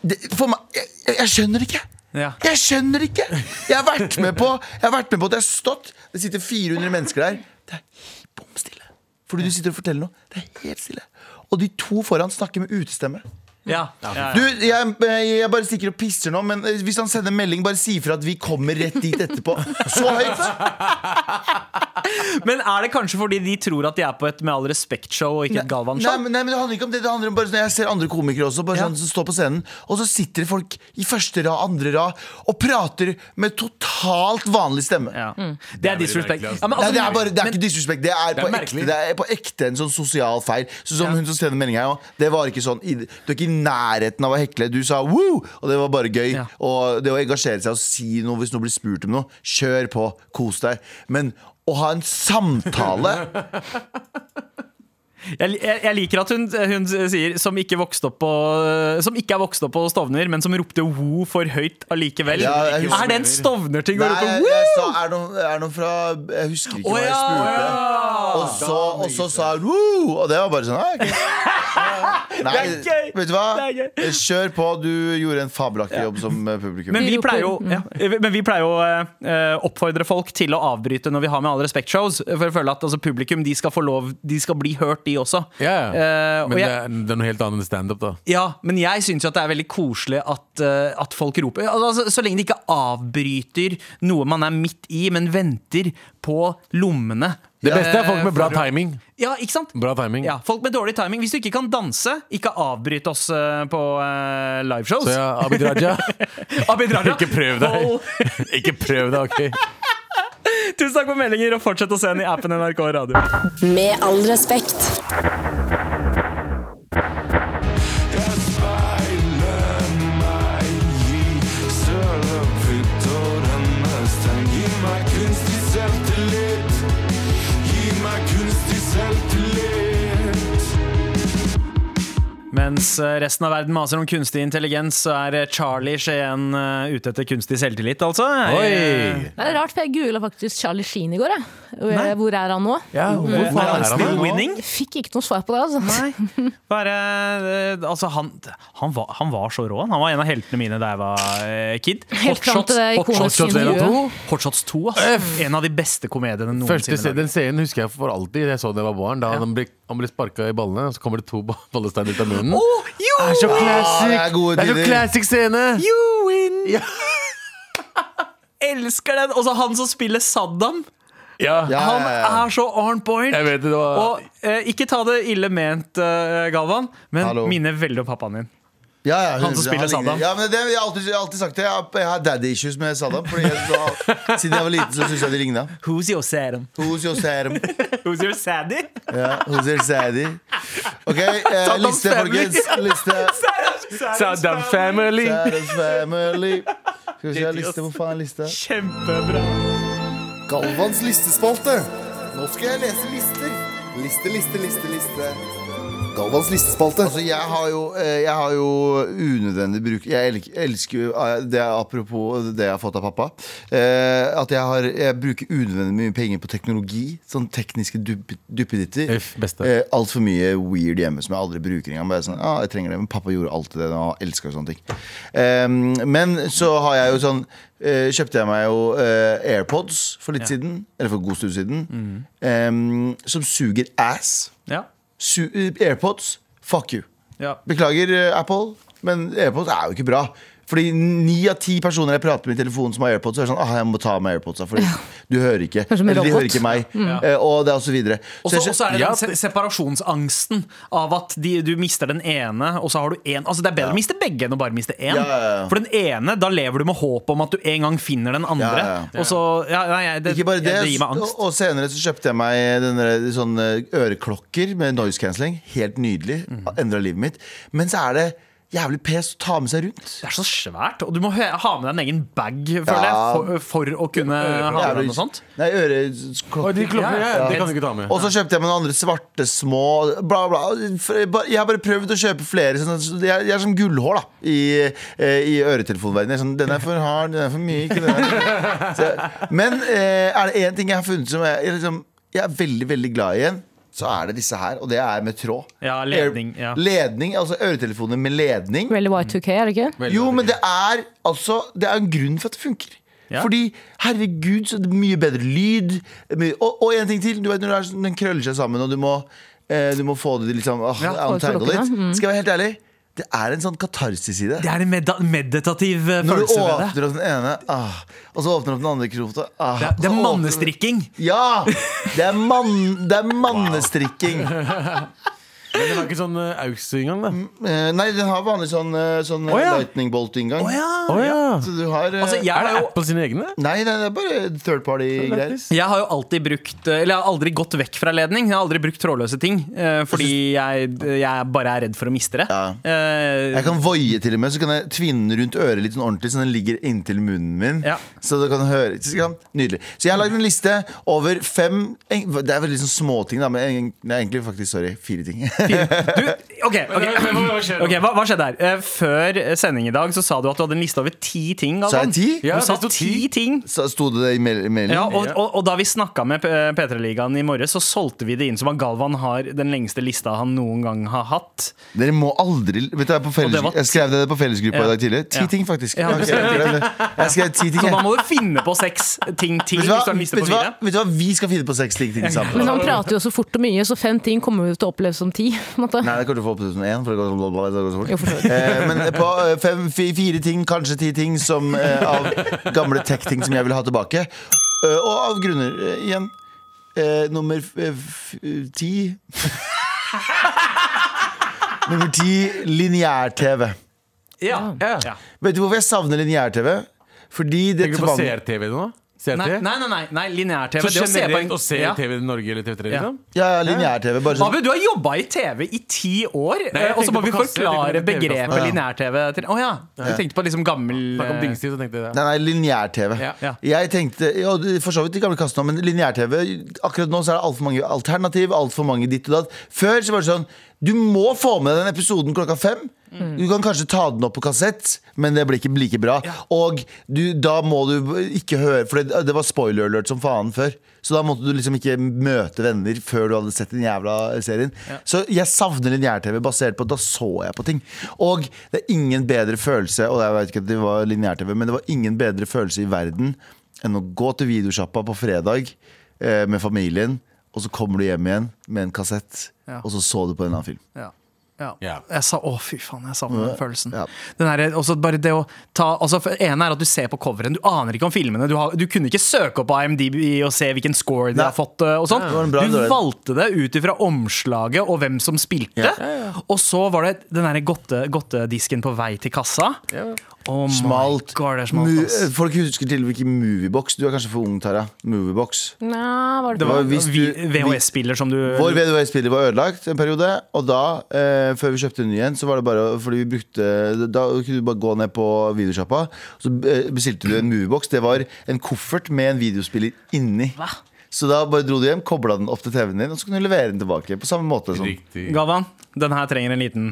det, for meg, jeg, jeg- jeg skjønner det ikke. Ja. Jeg skjønner ikke! Jeg har vært med på Jeg har vært med på at jeg har stått. Det sitter 400 mennesker der. Det er bom stille. Fordi du sitter og forteller noe. Det er helt stille. Og de to foran snakker med utestemme. Ja. Ja, ja. Du, jeg, jeg bare stikker og pisser nå, men hvis han sender melding, bare si fra at vi kommer rett dit etterpå. Så høyt! Men er det kanskje fordi de tror at de er på et Med all respekt-show og ikke et Nei, Galvan-show? men, nei, men det handler ikke om det. Det handler om bare sånn, Jeg ser andre komikere også Bare Ja. sånn som står på scenen Og så sitter det folk i første rad, andre rad Og prater med totalt vanlig stemme Ja. Det er disrespect. veldig merkelig, altså. Ja, men Nei, altså- det er, bare, det er men- ikke disrespekt. Det er, er på ekte, merkelig. det er på ekte en sånn sosial feil. Så som Ja. hun som sender melding her også, Det var ikke sånn i- Du er ikke i nærheten av å hekle. Du sa woo! Og det var bare gøy. Ja. Og det å engasjere seg og si noe hvis noen blir spurt om noe, kjør på. Kos deg. Men å ha en samtale Jeg, jeg, jeg liker at hun, hun sier som ikke, vokste opp på, som ikke er vokst opp på Stovner, men som ropte wo for høyt allikevel. Ja, jeg husker- er det en Stovner-ting å Nei, rope jeg, wo? jeg sa, er det noen, er det noen fra Jeg husker ikke Å hva jeg ja, å spurte. ja. Og så, og så sa jeg woo! Og det var bare sånn ah, ok. Nei, Det er gøy. vet du hva? Eh, Det Kjør på. Du gjorde en fabelaktig jobb som eh, publikum. Men vi Vi roper. pleier jo, ja, men vi pleier jo eh, oppfordre folk til å avbryte når vi har med all respekt-shows. For jeg føler at altså, publikum de skal få lov De skal bli hørt, de også. Eh, Ja, ja. og Men det jeg, er, det er noe helt annet enn standup, da. ja, men jeg syns jo at det er veldig koselig at, eh, at folk roper. Altså, så lenge de ikke avbryter noe man er midt i, men venter på lommene. Det beste er Eh, folk med bra for- timing. Ja, ikke sant? Bra timing. Ja, folk med dårlig timing. Hvis du ikke kan danse, ikke avbryt oss eh, på eh, liveshows. Så ja, Abid Raja, Abid Raja, ikke prøv deg. hold- Ikke prøv deg, OK? Tusen takk for meldinger, og fortsett å se den i appen NRK Radio. Med all respekt. Mens Mens eh, resten av verden maser om kunstig intelligens, så er eh, Charlie Skien eh, ute etter kunstig selvtillit, altså. Eh, Oi! Det er rart, for jeg googla faktisk Charlie Sheen i går. Jeg. Og jeg- Hvor er han nå? Ja, hvorfor Er han er han still her nå? winning? Jeg fikk ikke noe svar på det. altså Nei. Bare, eh, altså han, han, var, han var så rå. han. Han var en av heltene mine da jeg var eh, kid. Helt fram til det Hot Shots- ikoniske Hot Shots 1 og intervjuet. 2. Hot Shots 2, ass. En av de beste komediene Første se- noensinne. den scenen husker jeg for alltid. Jeg så den da jeg var barn. Da han ble, han ble sparka i ballene, og så kommer det to ba- ballesteiner ut av munnen. Oh, jo! Det er så classic! det er gode det er så tider. classic scene! You win! Ja. Elsker den! Og så han som spiller Saddam. Ja, Ja, Han ja, ja. er så on point. jeg vet det, det var Og eh, ikke ta det ille ment, eh, Galvan, men Hallo. minner veldig om pappaen din. Ja, ja, Han som spiller ligner- Saddam. Ja, men det, jeg, har alltid, jeg har alltid sagt det. Jeg har, jeg har daddy issues med Saddam. Fordi jeg, da, siden jeg var liten, så syns jeg de ligna. Who's your Saddam? Who's your Saddam? Who's your Saddy? Ja, who's your Saddy? Ok, eh, Saddam liste, family. folkens. Liste. Saddam Family! Saddam family. Skal vi se, liste, hvor faen er lista? Kjempebra. Galvans listespalte. Nå skal jeg lese lister. Liste, liste, liste, liste. Galvans listespalte. Altså, jeg har jo, eh, jeg har jo unødvendig bruk Jeg elk- elsker jo eh, det er Apropos det jeg har fått av pappa. eh, At jeg, har, jeg bruker unødvendig mye penger på teknologi. Sånn tekniske dupp- duppeditter. Uff, beste. Eh, Altfor mye weird hjemme som jeg aldri bruker engang. Bare sånn, ah, jeg trenger det, Men pappa gjorde alltid det. Og han elsket sånne ting. Ehm, men så har jeg jo sånn eh, Kjøpte jeg meg jo eh, AirPods for litt siden. Eller for god stund siden. Mm. ehm, som suger ass. Ja. Su AirPods, fuck you. ja. Beklager, eh, Apple, men AirPods er jo ikke bra. Fordi ni av ti personer jeg prater med i telefonen som har AirPods, så er det sånn ah, jeg må ta av meg AirPodsa, fordi du hører ikke. som en Eller de robot. hører ikke meg. Eh, og det er og så videre. Og Så jeg så skjø- og så er det Ja, den se- separasjonsangsten av at de, du mister den ene, og så har du én. Altså, det er bedre å miste begge enn å bare miste én. Ja, ja, ja. For den ene, da lever du med håp om at du en gang finner den andre. Ja, ja, Og så, ja, nei, jeg- det, Ikke bare det, jeg- det gir meg angst. Og, og senere så kjøpte jeg meg denne, sånne øreklokker med noise cancelling. Helt nydelig. Mhm. Endret Endra livet mitt. Men så er det jævlig pes å ta med seg rundt. Det er så svært, og du må hø- ha med deg en egen bag føler Ja. jeg, for, for å kunne ha med deg noe sånt. Nei, Oi, øreklokker. de klokkene, ja, Ja. Det kan du ikke ta med. Og så kjøpte jeg meg noen andre svarte små bla, bla. For Jeg bare- jeg har bare prøvd å kjøpe flere. Sånn, at- jeg, jeg er som gullhår da i, eh, i øretelefonverdenen. Jeg er Sånn, den er for hard, den er for myk. Den er så, men eh, er det én ting jeg har funnet som jeg, jeg, liksom, jeg er veldig veldig glad i igjen, så er det disse her. Og det er med tråd. Ja, ledning, ja. ledning altså øretelefoner med ledning. Really Y2K, er det ikke? Jo, men det er altså Det er en grunn for at det funker. Ja. Fordi, herregud, så det er mye bedre lyd. Mye, og, og en ting til. Du vet når det er, sånn- den krøller seg sammen, og du må, eh, du må få det litt sånn åh, få det på untangle lokkene, litt. Skal jeg være helt ærlig? Det er en sånn katarsis i Mm. det. Det er en meda- meditativ eh, Når du følelse ved det. åpner opp den ene, ah, og så åpner du opp den andre krota ah, Det er, det er og så åpner- mannestrikking. Ja! Det er, mann, det er mannestrikking. Men det var ikke sånn eh, aux engang, da. Eh, nei, den har vanlig sånn, eh, sånn eh, Å, ja. lightning bolt-inngang. Å ja. Så du har eh, Altså, jeg Er er det jo Apple sine egne? Nei, nei, det er bare third party-greier. Jeg har jo alltid brukt eh, Eller jeg har aldri gått vekk fra ledning. Jeg har aldri brukt trådløse ting eh, fordi jeg, jeg bare er redd for å miste det. Ja. Eh, Jeg kan voie til og med, så kan jeg tvinne den rundt øret litt sånn ordentlig, så den ligger inntil munnen min. Ja. Så du kan høre så kan, Nydelig. Så jeg har lagd en liste over fem en, Det er veldig sånn småting, da, men en, nei, egentlig faktisk, sorry, fire ting. Du, ok, ok. Ok, hva, hva skjedde her? Eh, Før sending i dag så sa du at du hadde en liste over ti ting. Sa jeg Galvan. ti? Ja, du sa det sto ti ti. ting. Så sto det det i mel- meldingen? Ja, og, og, og da vi snakka med P- P3-ligaen i morges, så solgte vi det inn som at Galvan har den lengste lista han noen gang har hatt. Dere må aldri vet du, jeg, er på felles, det var ti- jeg skrev det på Ja. fellesgruppa i dag tidlig. Ti Ja. ting, faktisk. Ja, du Ok, skrev ti jeg skrev ti ting. Så da jeg. må du finne på seks ting til. Vet du, hva? Hvis du har en liste på vet, fire du hva? vet du hva? Vi skal finne på seks ting, ting sammen. Men han prater jo så fort og mye, så fem ting kommer vi til å oppleve som ti. på en måte. Nei, det kommer til å få opp til 1001, for det går så, blablabla, det går så fort. Jo, for så vidt. Eh, men på eh, fem, fi- fire ting, kanskje ti ting som, eh, av gamle tech-ting som jeg vil ha tilbake. Eh, og av grunner eh, igjen. Eh, nummer f- eh, f- eh, ti Nummer ti lineær-TV. Ja. Ja. Ja. Vet du hvorfor jeg savner lineær-TV? Fordi det Tenker du på CRTV nå? CRT? Nei, nei, nei, nei, nei lineær-TV. Så det å se på en- generelt å se Ja. TV i Norge eller TV3, Ja. liksom? Ja, ja, lineær-TV. Bare sånn Abu, du har jobba i TV i ti år, Nei, jeg eh, og så tenkte må på vi kasse, jeg forklare tenkte på begrepet TV-kasse. lineær-TV. til- Å ja, du tenkte på liksom gammel Snakk om eh, dingstid, så tenkte jeg det. Nei, nei, lineær-TV. Ja. Ja. Jeg tenkte, ja, du- For så vidt de gamle kassene, men lineær-TV Akkurat nå så er det altfor mange alternativ, altfor mange ditt og datt. Før så var det sånn Du må få med deg den episoden klokka fem. Du kan kanskje ta den opp på kassett, men det blir ikke like bra. Og du, da må du ikke høre For det, det var spoiler alert som faen før. Så da måtte du liksom ikke møte venner før du hadde sett den jævla serien. Så jeg savner lineær-TV basert på at da så jeg på ting. Og det er ingen bedre følelse Og jeg vet ikke at det var lineær-TV, men det var ingen bedre følelse i verden enn å gå til videosjappa på fredag eh, med familien, og så kommer du hjem igjen med en kassett, Ja. og så så du på en annen film. Ja. Ja. Ja. Jeg sa, å, fy faen, jeg savner den følelsen. Ja. Den her, også bare det å ta altså, for det ene er at du ser på coveren, du aner ikke om filmene. Du, har, du kunne ikke søke opp på IMDb og se hvilken score de Nei. har fått. eh, Og sånn. det var en bra du idé. valgte det ut ifra omslaget og hvem som spilte. Ja. Og så var det den derre godte, godtedisken på vei til kassa. Oh my Smalt. God, det er smalt Mu- eh, ass. Folk husker til og med ikke Moviebox. Du er kanskje for ung, Tara. Moviebox. Nei, var det Det var var hvis vi- du- VHS-spiller som du Vår VHS-spiller var ødelagt en periode, og da, eh, før vi kjøpte en ny en, så var det bare fordi vi brukte Da kunne du bare gå ned på videosjappa, så eh, bestilte du en moviebox. Det var en koffert med en videospiller inni. Så da bare dro du hjem, kobla den opp til TV-en din, og så kunne du levere den tilbake. På samme måte som Riktig. Galvan, den her trenger en liten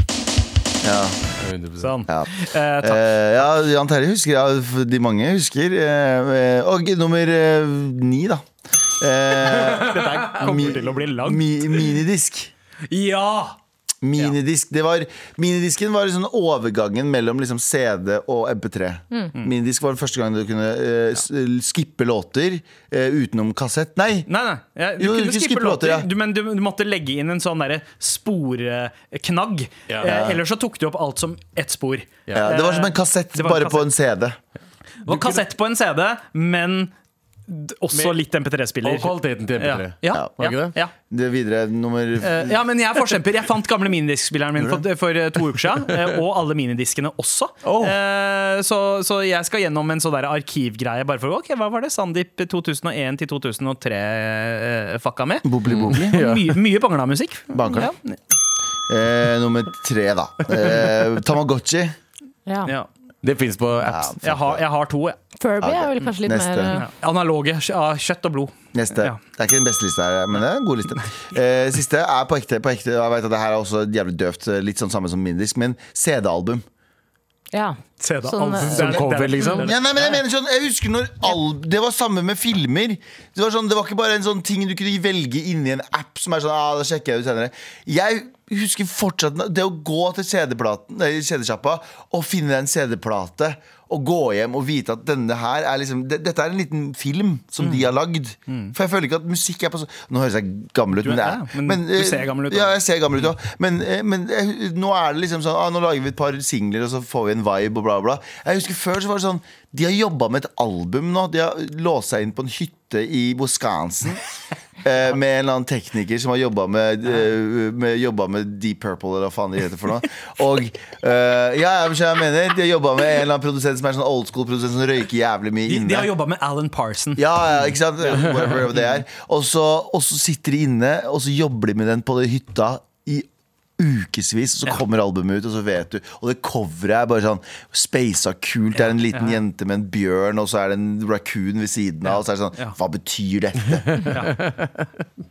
ja, 100%. sånn. ja. Eh, takk. Eh, ja, Jan Terje husker, ja, de mange husker. Eh, eh, og nummer eh, ni, da. Eh, Dette her kommer til å bli langt. mi, minidisk. Ja! Minidisk, det var, Minidisken var liksom overgangen mellom liksom CD og MP3. Mm. Mm. Minidisk var den første gangen du kunne eh, s- skippe låter eh, utenom kassett. Nei! Nei, nei. Ja, du Jo, kunne ikke skippe, skippe låter, låter, ja. du, men du, du måtte legge inn en sånn derre sporeknagg. Ja. Eh, ellers så tok du opp alt som ett spor. Ja, det var som en kassett, eh, Det var en bare på en CD. Det var kassett på en CD, men d- også Med- litt MP3-spiller. Og kvaliteten til Ja. MP3. Ja, Var ja, ikke det? ja. Det er videre nummer Eh, ja, men jeg er forkjemper. Jeg fant gamle minidiskspilleren min for, for eh, to uker siden. eh, Og alle minidiskene også. Oh. Eh, så, så jeg skal gjennom en sånn der arkivgreie. Bare for, ok, Hva var det Sandeep 2001 til 2003 eh, fucka med? Bobli Bobli. Mye, mye bangla-musikk. Bangla. Ja. Eh, nummer tre, da. Eh, Tamagotchi. Ja. Ja. Det fins på Ja, apps. Jeg har, jeg har to. Jeg. Furby er Ok, vel kanskje litt neste. mer eh, Ja. Analoge kj- av kjøtt og blod. Neste. Ja. Det er ikke den beste lista her, men det er en god liste. Eh, siste er på ekte. På ekte. Jeg vet at det her er også jævlig døvt, litt sånn samme som minidisk, men CD-album. Ja. CD, Sånn, alt. eh, Det er- Som cover, det er- liksom? Ja, nei, men jeg mener sånn, jeg husker når all, Det var samme med filmer. Det var, sånn, det var ikke bare en sånn ting du kunne velge inni en app som er sånn ah, da sjekker jeg ut senere. Jeg husker fortsatt det å gå til CD-platen- nei, CD-sjappa og finne en CD-plate. Og gå hjem og vite at denne her er liksom, det, dette er en liten film som Mm. de har lagd. For jeg føler ikke at musikk er på sånn Nå høres jeg gammel ut, men det ja, er men Mm. du eh, ser gammel ut, Ja, da. jeg ser gammel ut òg. Men, eh, men jeg, nå er det liksom sånn ah, Nå lager vi et par singler, og så får vi en vibe, og bla, bla. Jeg husker før så var det sånn De har jobba med et album nå. De har låst seg inn på en hytte i Wisconsin. eh, Med en eller annen tekniker som har jobba med, eh, med, jobba med Deep Purple, eller hva faen de heter for noe. Og eh, ja, jeg skjønner hva jeg mener De har jobba med en eller annen produsent som er sånn old school-produsent som røyker jævlig mye De, inne. de har jobba med Alan Parson. Ja, ja, ikke sant? Whatever det er. Og så, og så sitter de inne, og så jobber de med den på den hytta i ukevis. Og så kommer albumet ut, og så vet du. Og det coveret er bare sånn speisa kult. Det er en liten jente med en bjørn, og så er det en raccoon ved siden av. Og så er det Ja. sånn, hva betyr dette?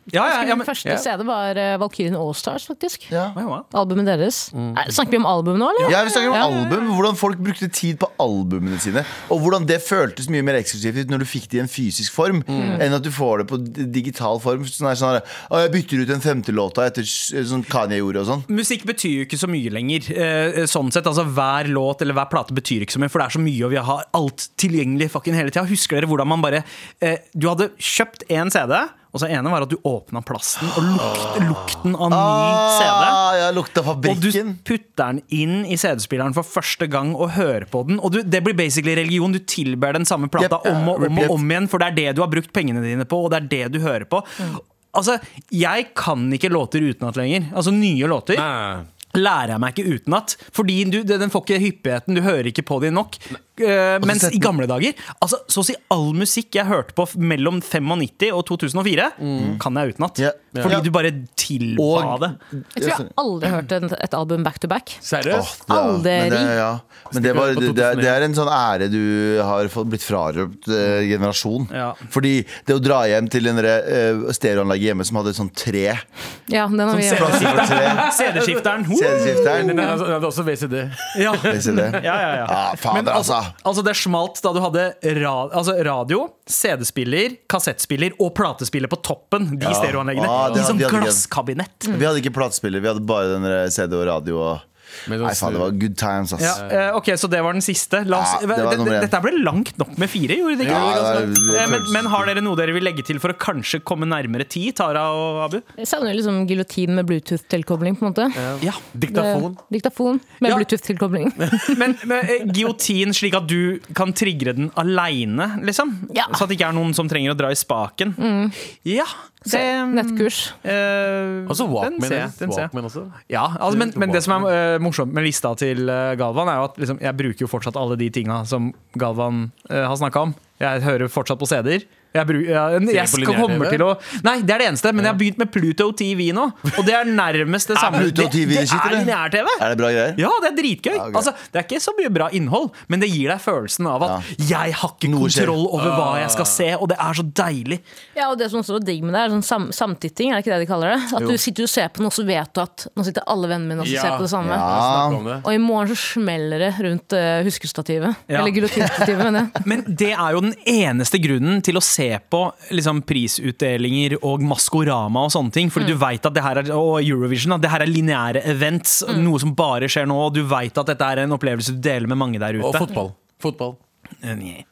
Ja, ja, ja, Min men, første CD var eh, Valkyrien Allstars, faktisk. Ja. Oi, wow. Albumet deres. Nei, snakker vi om album nå, eller? Ja, vi snakker om Ja. album, hvordan folk brukte tid på albumene sine. Og hvordan det føltes mye mer eksklusivt ut når du fikk det i en fysisk form, Mm. enn at du får det på d- digital form. Sånn her, sånn her, «Å, jeg bytter ut den femte låta etter s- sånn Kanye gjorde og sånn. Musikk betyr jo ikke så mye lenger. Eh, sånn sett, altså Hver låt eller hver plate betyr ikke så mye, for det er så mye, og vi har alt tilgjengelig fucking hele tida. Husker dere hvordan man bare eh, Du hadde kjøpt én CD, og så ene var at du åpna plasten, og lukt, lukten av ny CD. Ah, ja, lukta Og du fabrikken. putter den inn i CD-spilleren for første gang og hører på den. Og du, det blir basically religion. Du tilber den samme plata Yep. om og om Yep. og om igjen, for det er det du har brukt pengene dine på, og det er det du hører på. Altså, Jeg kan ikke låter utenat lenger. Altså nye låter. Nei. Lærer jeg meg ikke utenat. Fordi du, den får ikke hyppigheten, du hører ikke på dem nok. eh, mens sett- i gamle dager altså, Så å si all musikk jeg hørte på f- mellom 95 og 2004, kan jeg utenat. Mm. Ja. Fordi Ja. du bare tilba Og- det. Jeg tror jeg aldri har hørt en- et album back to back. Seriøst? Ja, Men det, Aldri. ja. men det, var, Stikker det, ut på er- det er en sånn ære du har fått blitt frarøpt eh, generasjon. Ja. Fordi det å dra hjem til den der, eh, stereoanlegget hjemme som hadde sånn tre Ja, den har vi CD-skifteren. for tre CD-skifteren. Woo! Den CD-skifteren. er, altså, den er også VCD. Ja. Vil si det? Ja, ja, ja. Ah, fader, Men altså, altså. altså det smalt da du hadde ra altså radio, CD-spiller, kassettspiller og platespiller på toppen. De stereoanleggene. Ah, det I hadde- sånn vi hadde ikke- glasskabinett. Vi hadde ikke platespiller, vi hadde bare den der CD og radio. Og... Med Nei, faen, sånn det var good times, ass. Ja, eh, ok, Så det var den siste. La oss, Ja, det var det- nummer én. Dette ble langt nok med fire. gjorde det ikke? Ja, det var- Eh, det men, føles- men har dere noe dere vil legge til for å kanskje komme nærmere ti, Tara og Abu? Jeg savner liksom giljotin med Bluetooth-tilkobling, på en måte. Ja, Diktafon. Det- Diktafon med Ja. Bluetooth-tilkobling. Men, men eh, giotin slik at du kan trigge den aleine, liksom? Ja. Så at det ikke er noen som trenger å dra i spaken? Ja, det Nettkurs. eh, Og så den Altså, Walkman. ser jeg, den ser jeg. Walkman også. Ja, altså, men, men det som er eh, morsomt med lista til eh, Galvan, er jo at liksom, jeg bruker jo fortsatt alle de tinga som Galvan eh, har snakka om. Jeg hører fortsatt på CD-er. Jeg, bru- jeg, jeg skal- på lineær-TV? kommer til å Nei, det er det eneste, men jeg har begynt med Pluto TV nå. Og det er nærmest det samme. Pluto TV det, det shit, er eller? lineær-TV! Er det bra greier? Ja, det er dritgøy. Ja, gøy. altså, det er ikke så mye bra innhold, men det gir deg følelsen av at jeg har ikke Noe skjer. kontroll over hva jeg skal se, og det er så deilig. Ja, og det som også var digg med det, er sånn sam samtitting, er det ikke det de kaller det? At du sitter og ser på den, og så vet du at nå sitter alle vennene mine og Ja. ser på det samme. Snakk om Ja. det. Og i morgen så smeller det rundt eh, huskestativet. Ja. Eller giljotinstativet, mener jeg. Men det er jo den eneste grunnen til å se på liksom, prisutdelinger og Maskorama og sånne ting. Fordi du vet at det her er, og Eurovision, at det her er lineære events, noe som bare skjer nå. Og du vet at dette er en opplevelse du deler med mange der ute. Og fotball. Fotball. Nei.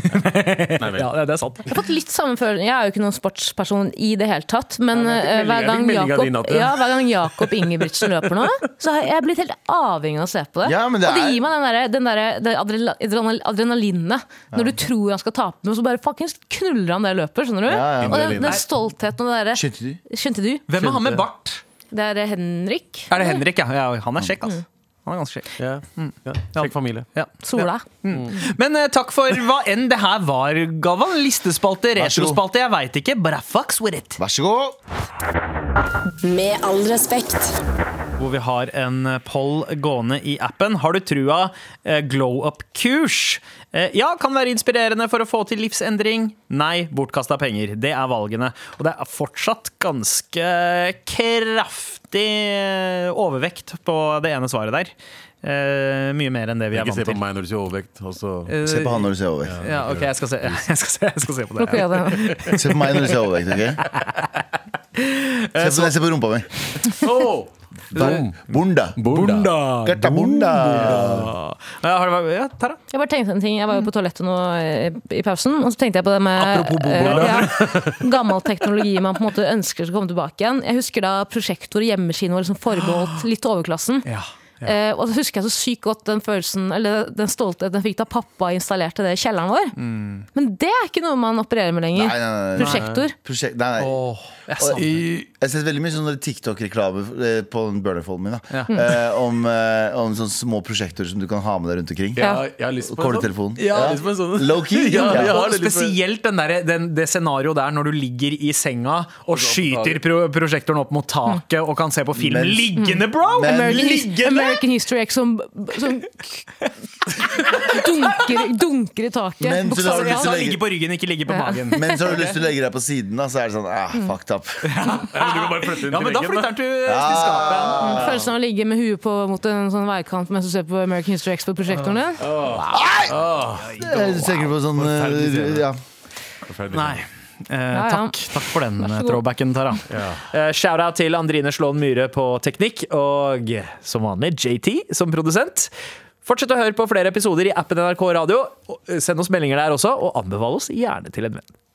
Nei vel. Ja, det, det er sant. Jeg har fått litt samme følelse. Jeg er jo ikke noen sportsperson i det hele tatt, men Nei, men jeg fikk eh, hver, melding- jeg gang fikk melding av din at Jakob, det- ja, hver gang Jakob Ingebrigtsen løper nå, så har jeg blitt helt avhengig av å se på det. Ja, men det og det er- gir meg den derre- den derre- det adrenal- adrenal- adrenalinet når du tror han skal tape, men så bare fuckings knuller han der løper, skjønner du? Ja, ja. Og den, Nei. den stoltheten og det derre Skjønte du? Skjønte du? Hvem er han med bart? Det er Henrik Er det Henrik? Ja, ja han er kjekk, altså. Han er ganske kjekk. Ja. Ja. Sjekk familie. Ja. Sola. Men eh, takk for hva enn det her var, Galvan. Listespalte, Vær så god. retrospalte, jeg veit ikke. But I fucks with it. Vær så god. Med all respekt. hvor vi har en eh, poll gående i appen. Har du trua eh, glow up-kurs? Eh, ja, kan være inspirerende for å få til livsendring. Nei, bortkasta penger. Det er valgene. Og det er fortsatt ganske eh, kraftig eh, overvekt på det ene svaret der. Eh, mye mer enn det vi er Ikke se vant på til. meg når du sier overvekt. og så- Se på han når du ser overvekt. Ja, ok, jeg skal se, jeg skal se, jeg skal se på det. Lukker jeg det? Se på meg når du ser overvekt, ok? Se på, se på rumpa mi. Åh! Der. Bunda. Bunda. Gerta bunda. Ja, har det vært- ja, Tara? Jeg bare tenkte en ting, jeg var jo på toalettet nå eh, i pausen, og så tenkte jeg på det med Apropos bobola. eh, ja, Gammel teknologi man på en måte ønsker skal komme tilbake igjen. Jeg husker da prosjektor og hjemmekino var liksom forbeholdt litt overklassen. Eh, og så husker jeg så sykt godt den følelsen Eller den stoltheten jeg fikk da pappa installerte det i kjelleren vår. Men det er ikke noe man opererer med lenger. Mm. Nei, nei, nei, nei. Prosjektor. Prosjekt, nei, nei. Åh, jeg savner det. I- Jeg har sett veldig mye sånn TikTok-reklame eh, på den burnerfolden min. Da. Ja. Eh, om eh, om sånne små prosjektorer som du kan ha med deg rundt omkring. Ja, jeg har lyst på en sånn. Kobletelefonen. Ja, jeg har lyst på en sånn. Low-key. Ja, Ja. jeg har Og det litt for- spesielt den der, den, det scenarioet der når du ligger i senga og skyter pro prosjektoren opp mot taket og kan se på film Mens- Mm. liggende, bro! Men- American, His- liggende! American History X som, som dunker, dunker i taket. Men så bokstavelig lager du Jeg talt. sa ligge på ryggen, ikke ligge på magen. Men så har du lyst til å legge deg på siden, da, så er det sånn ah, fucked up. Ja, men du kan bare flytte den Ja, til men da veggen, flytter den til, til Ah. skapet. Følelsen av å ligge med huet på mot en sånn veikant mens du ser på American History X på prosjektoren din. Eh, Du tenker på sånn eh, Forferdelig scene. ja. Forferdelig. Nei. Eh, ja. takk, takk for den eh, god. throwbacken, Tara. Ja. Eh, Shout-out til Andrine Slåen Myhre på teknikk, og som vanlig JT som produsent. Fortsett å høre på flere episoder i appen NRK Radio. og, eh, Send oss meldinger der også, og anbefale oss gjerne til en venn.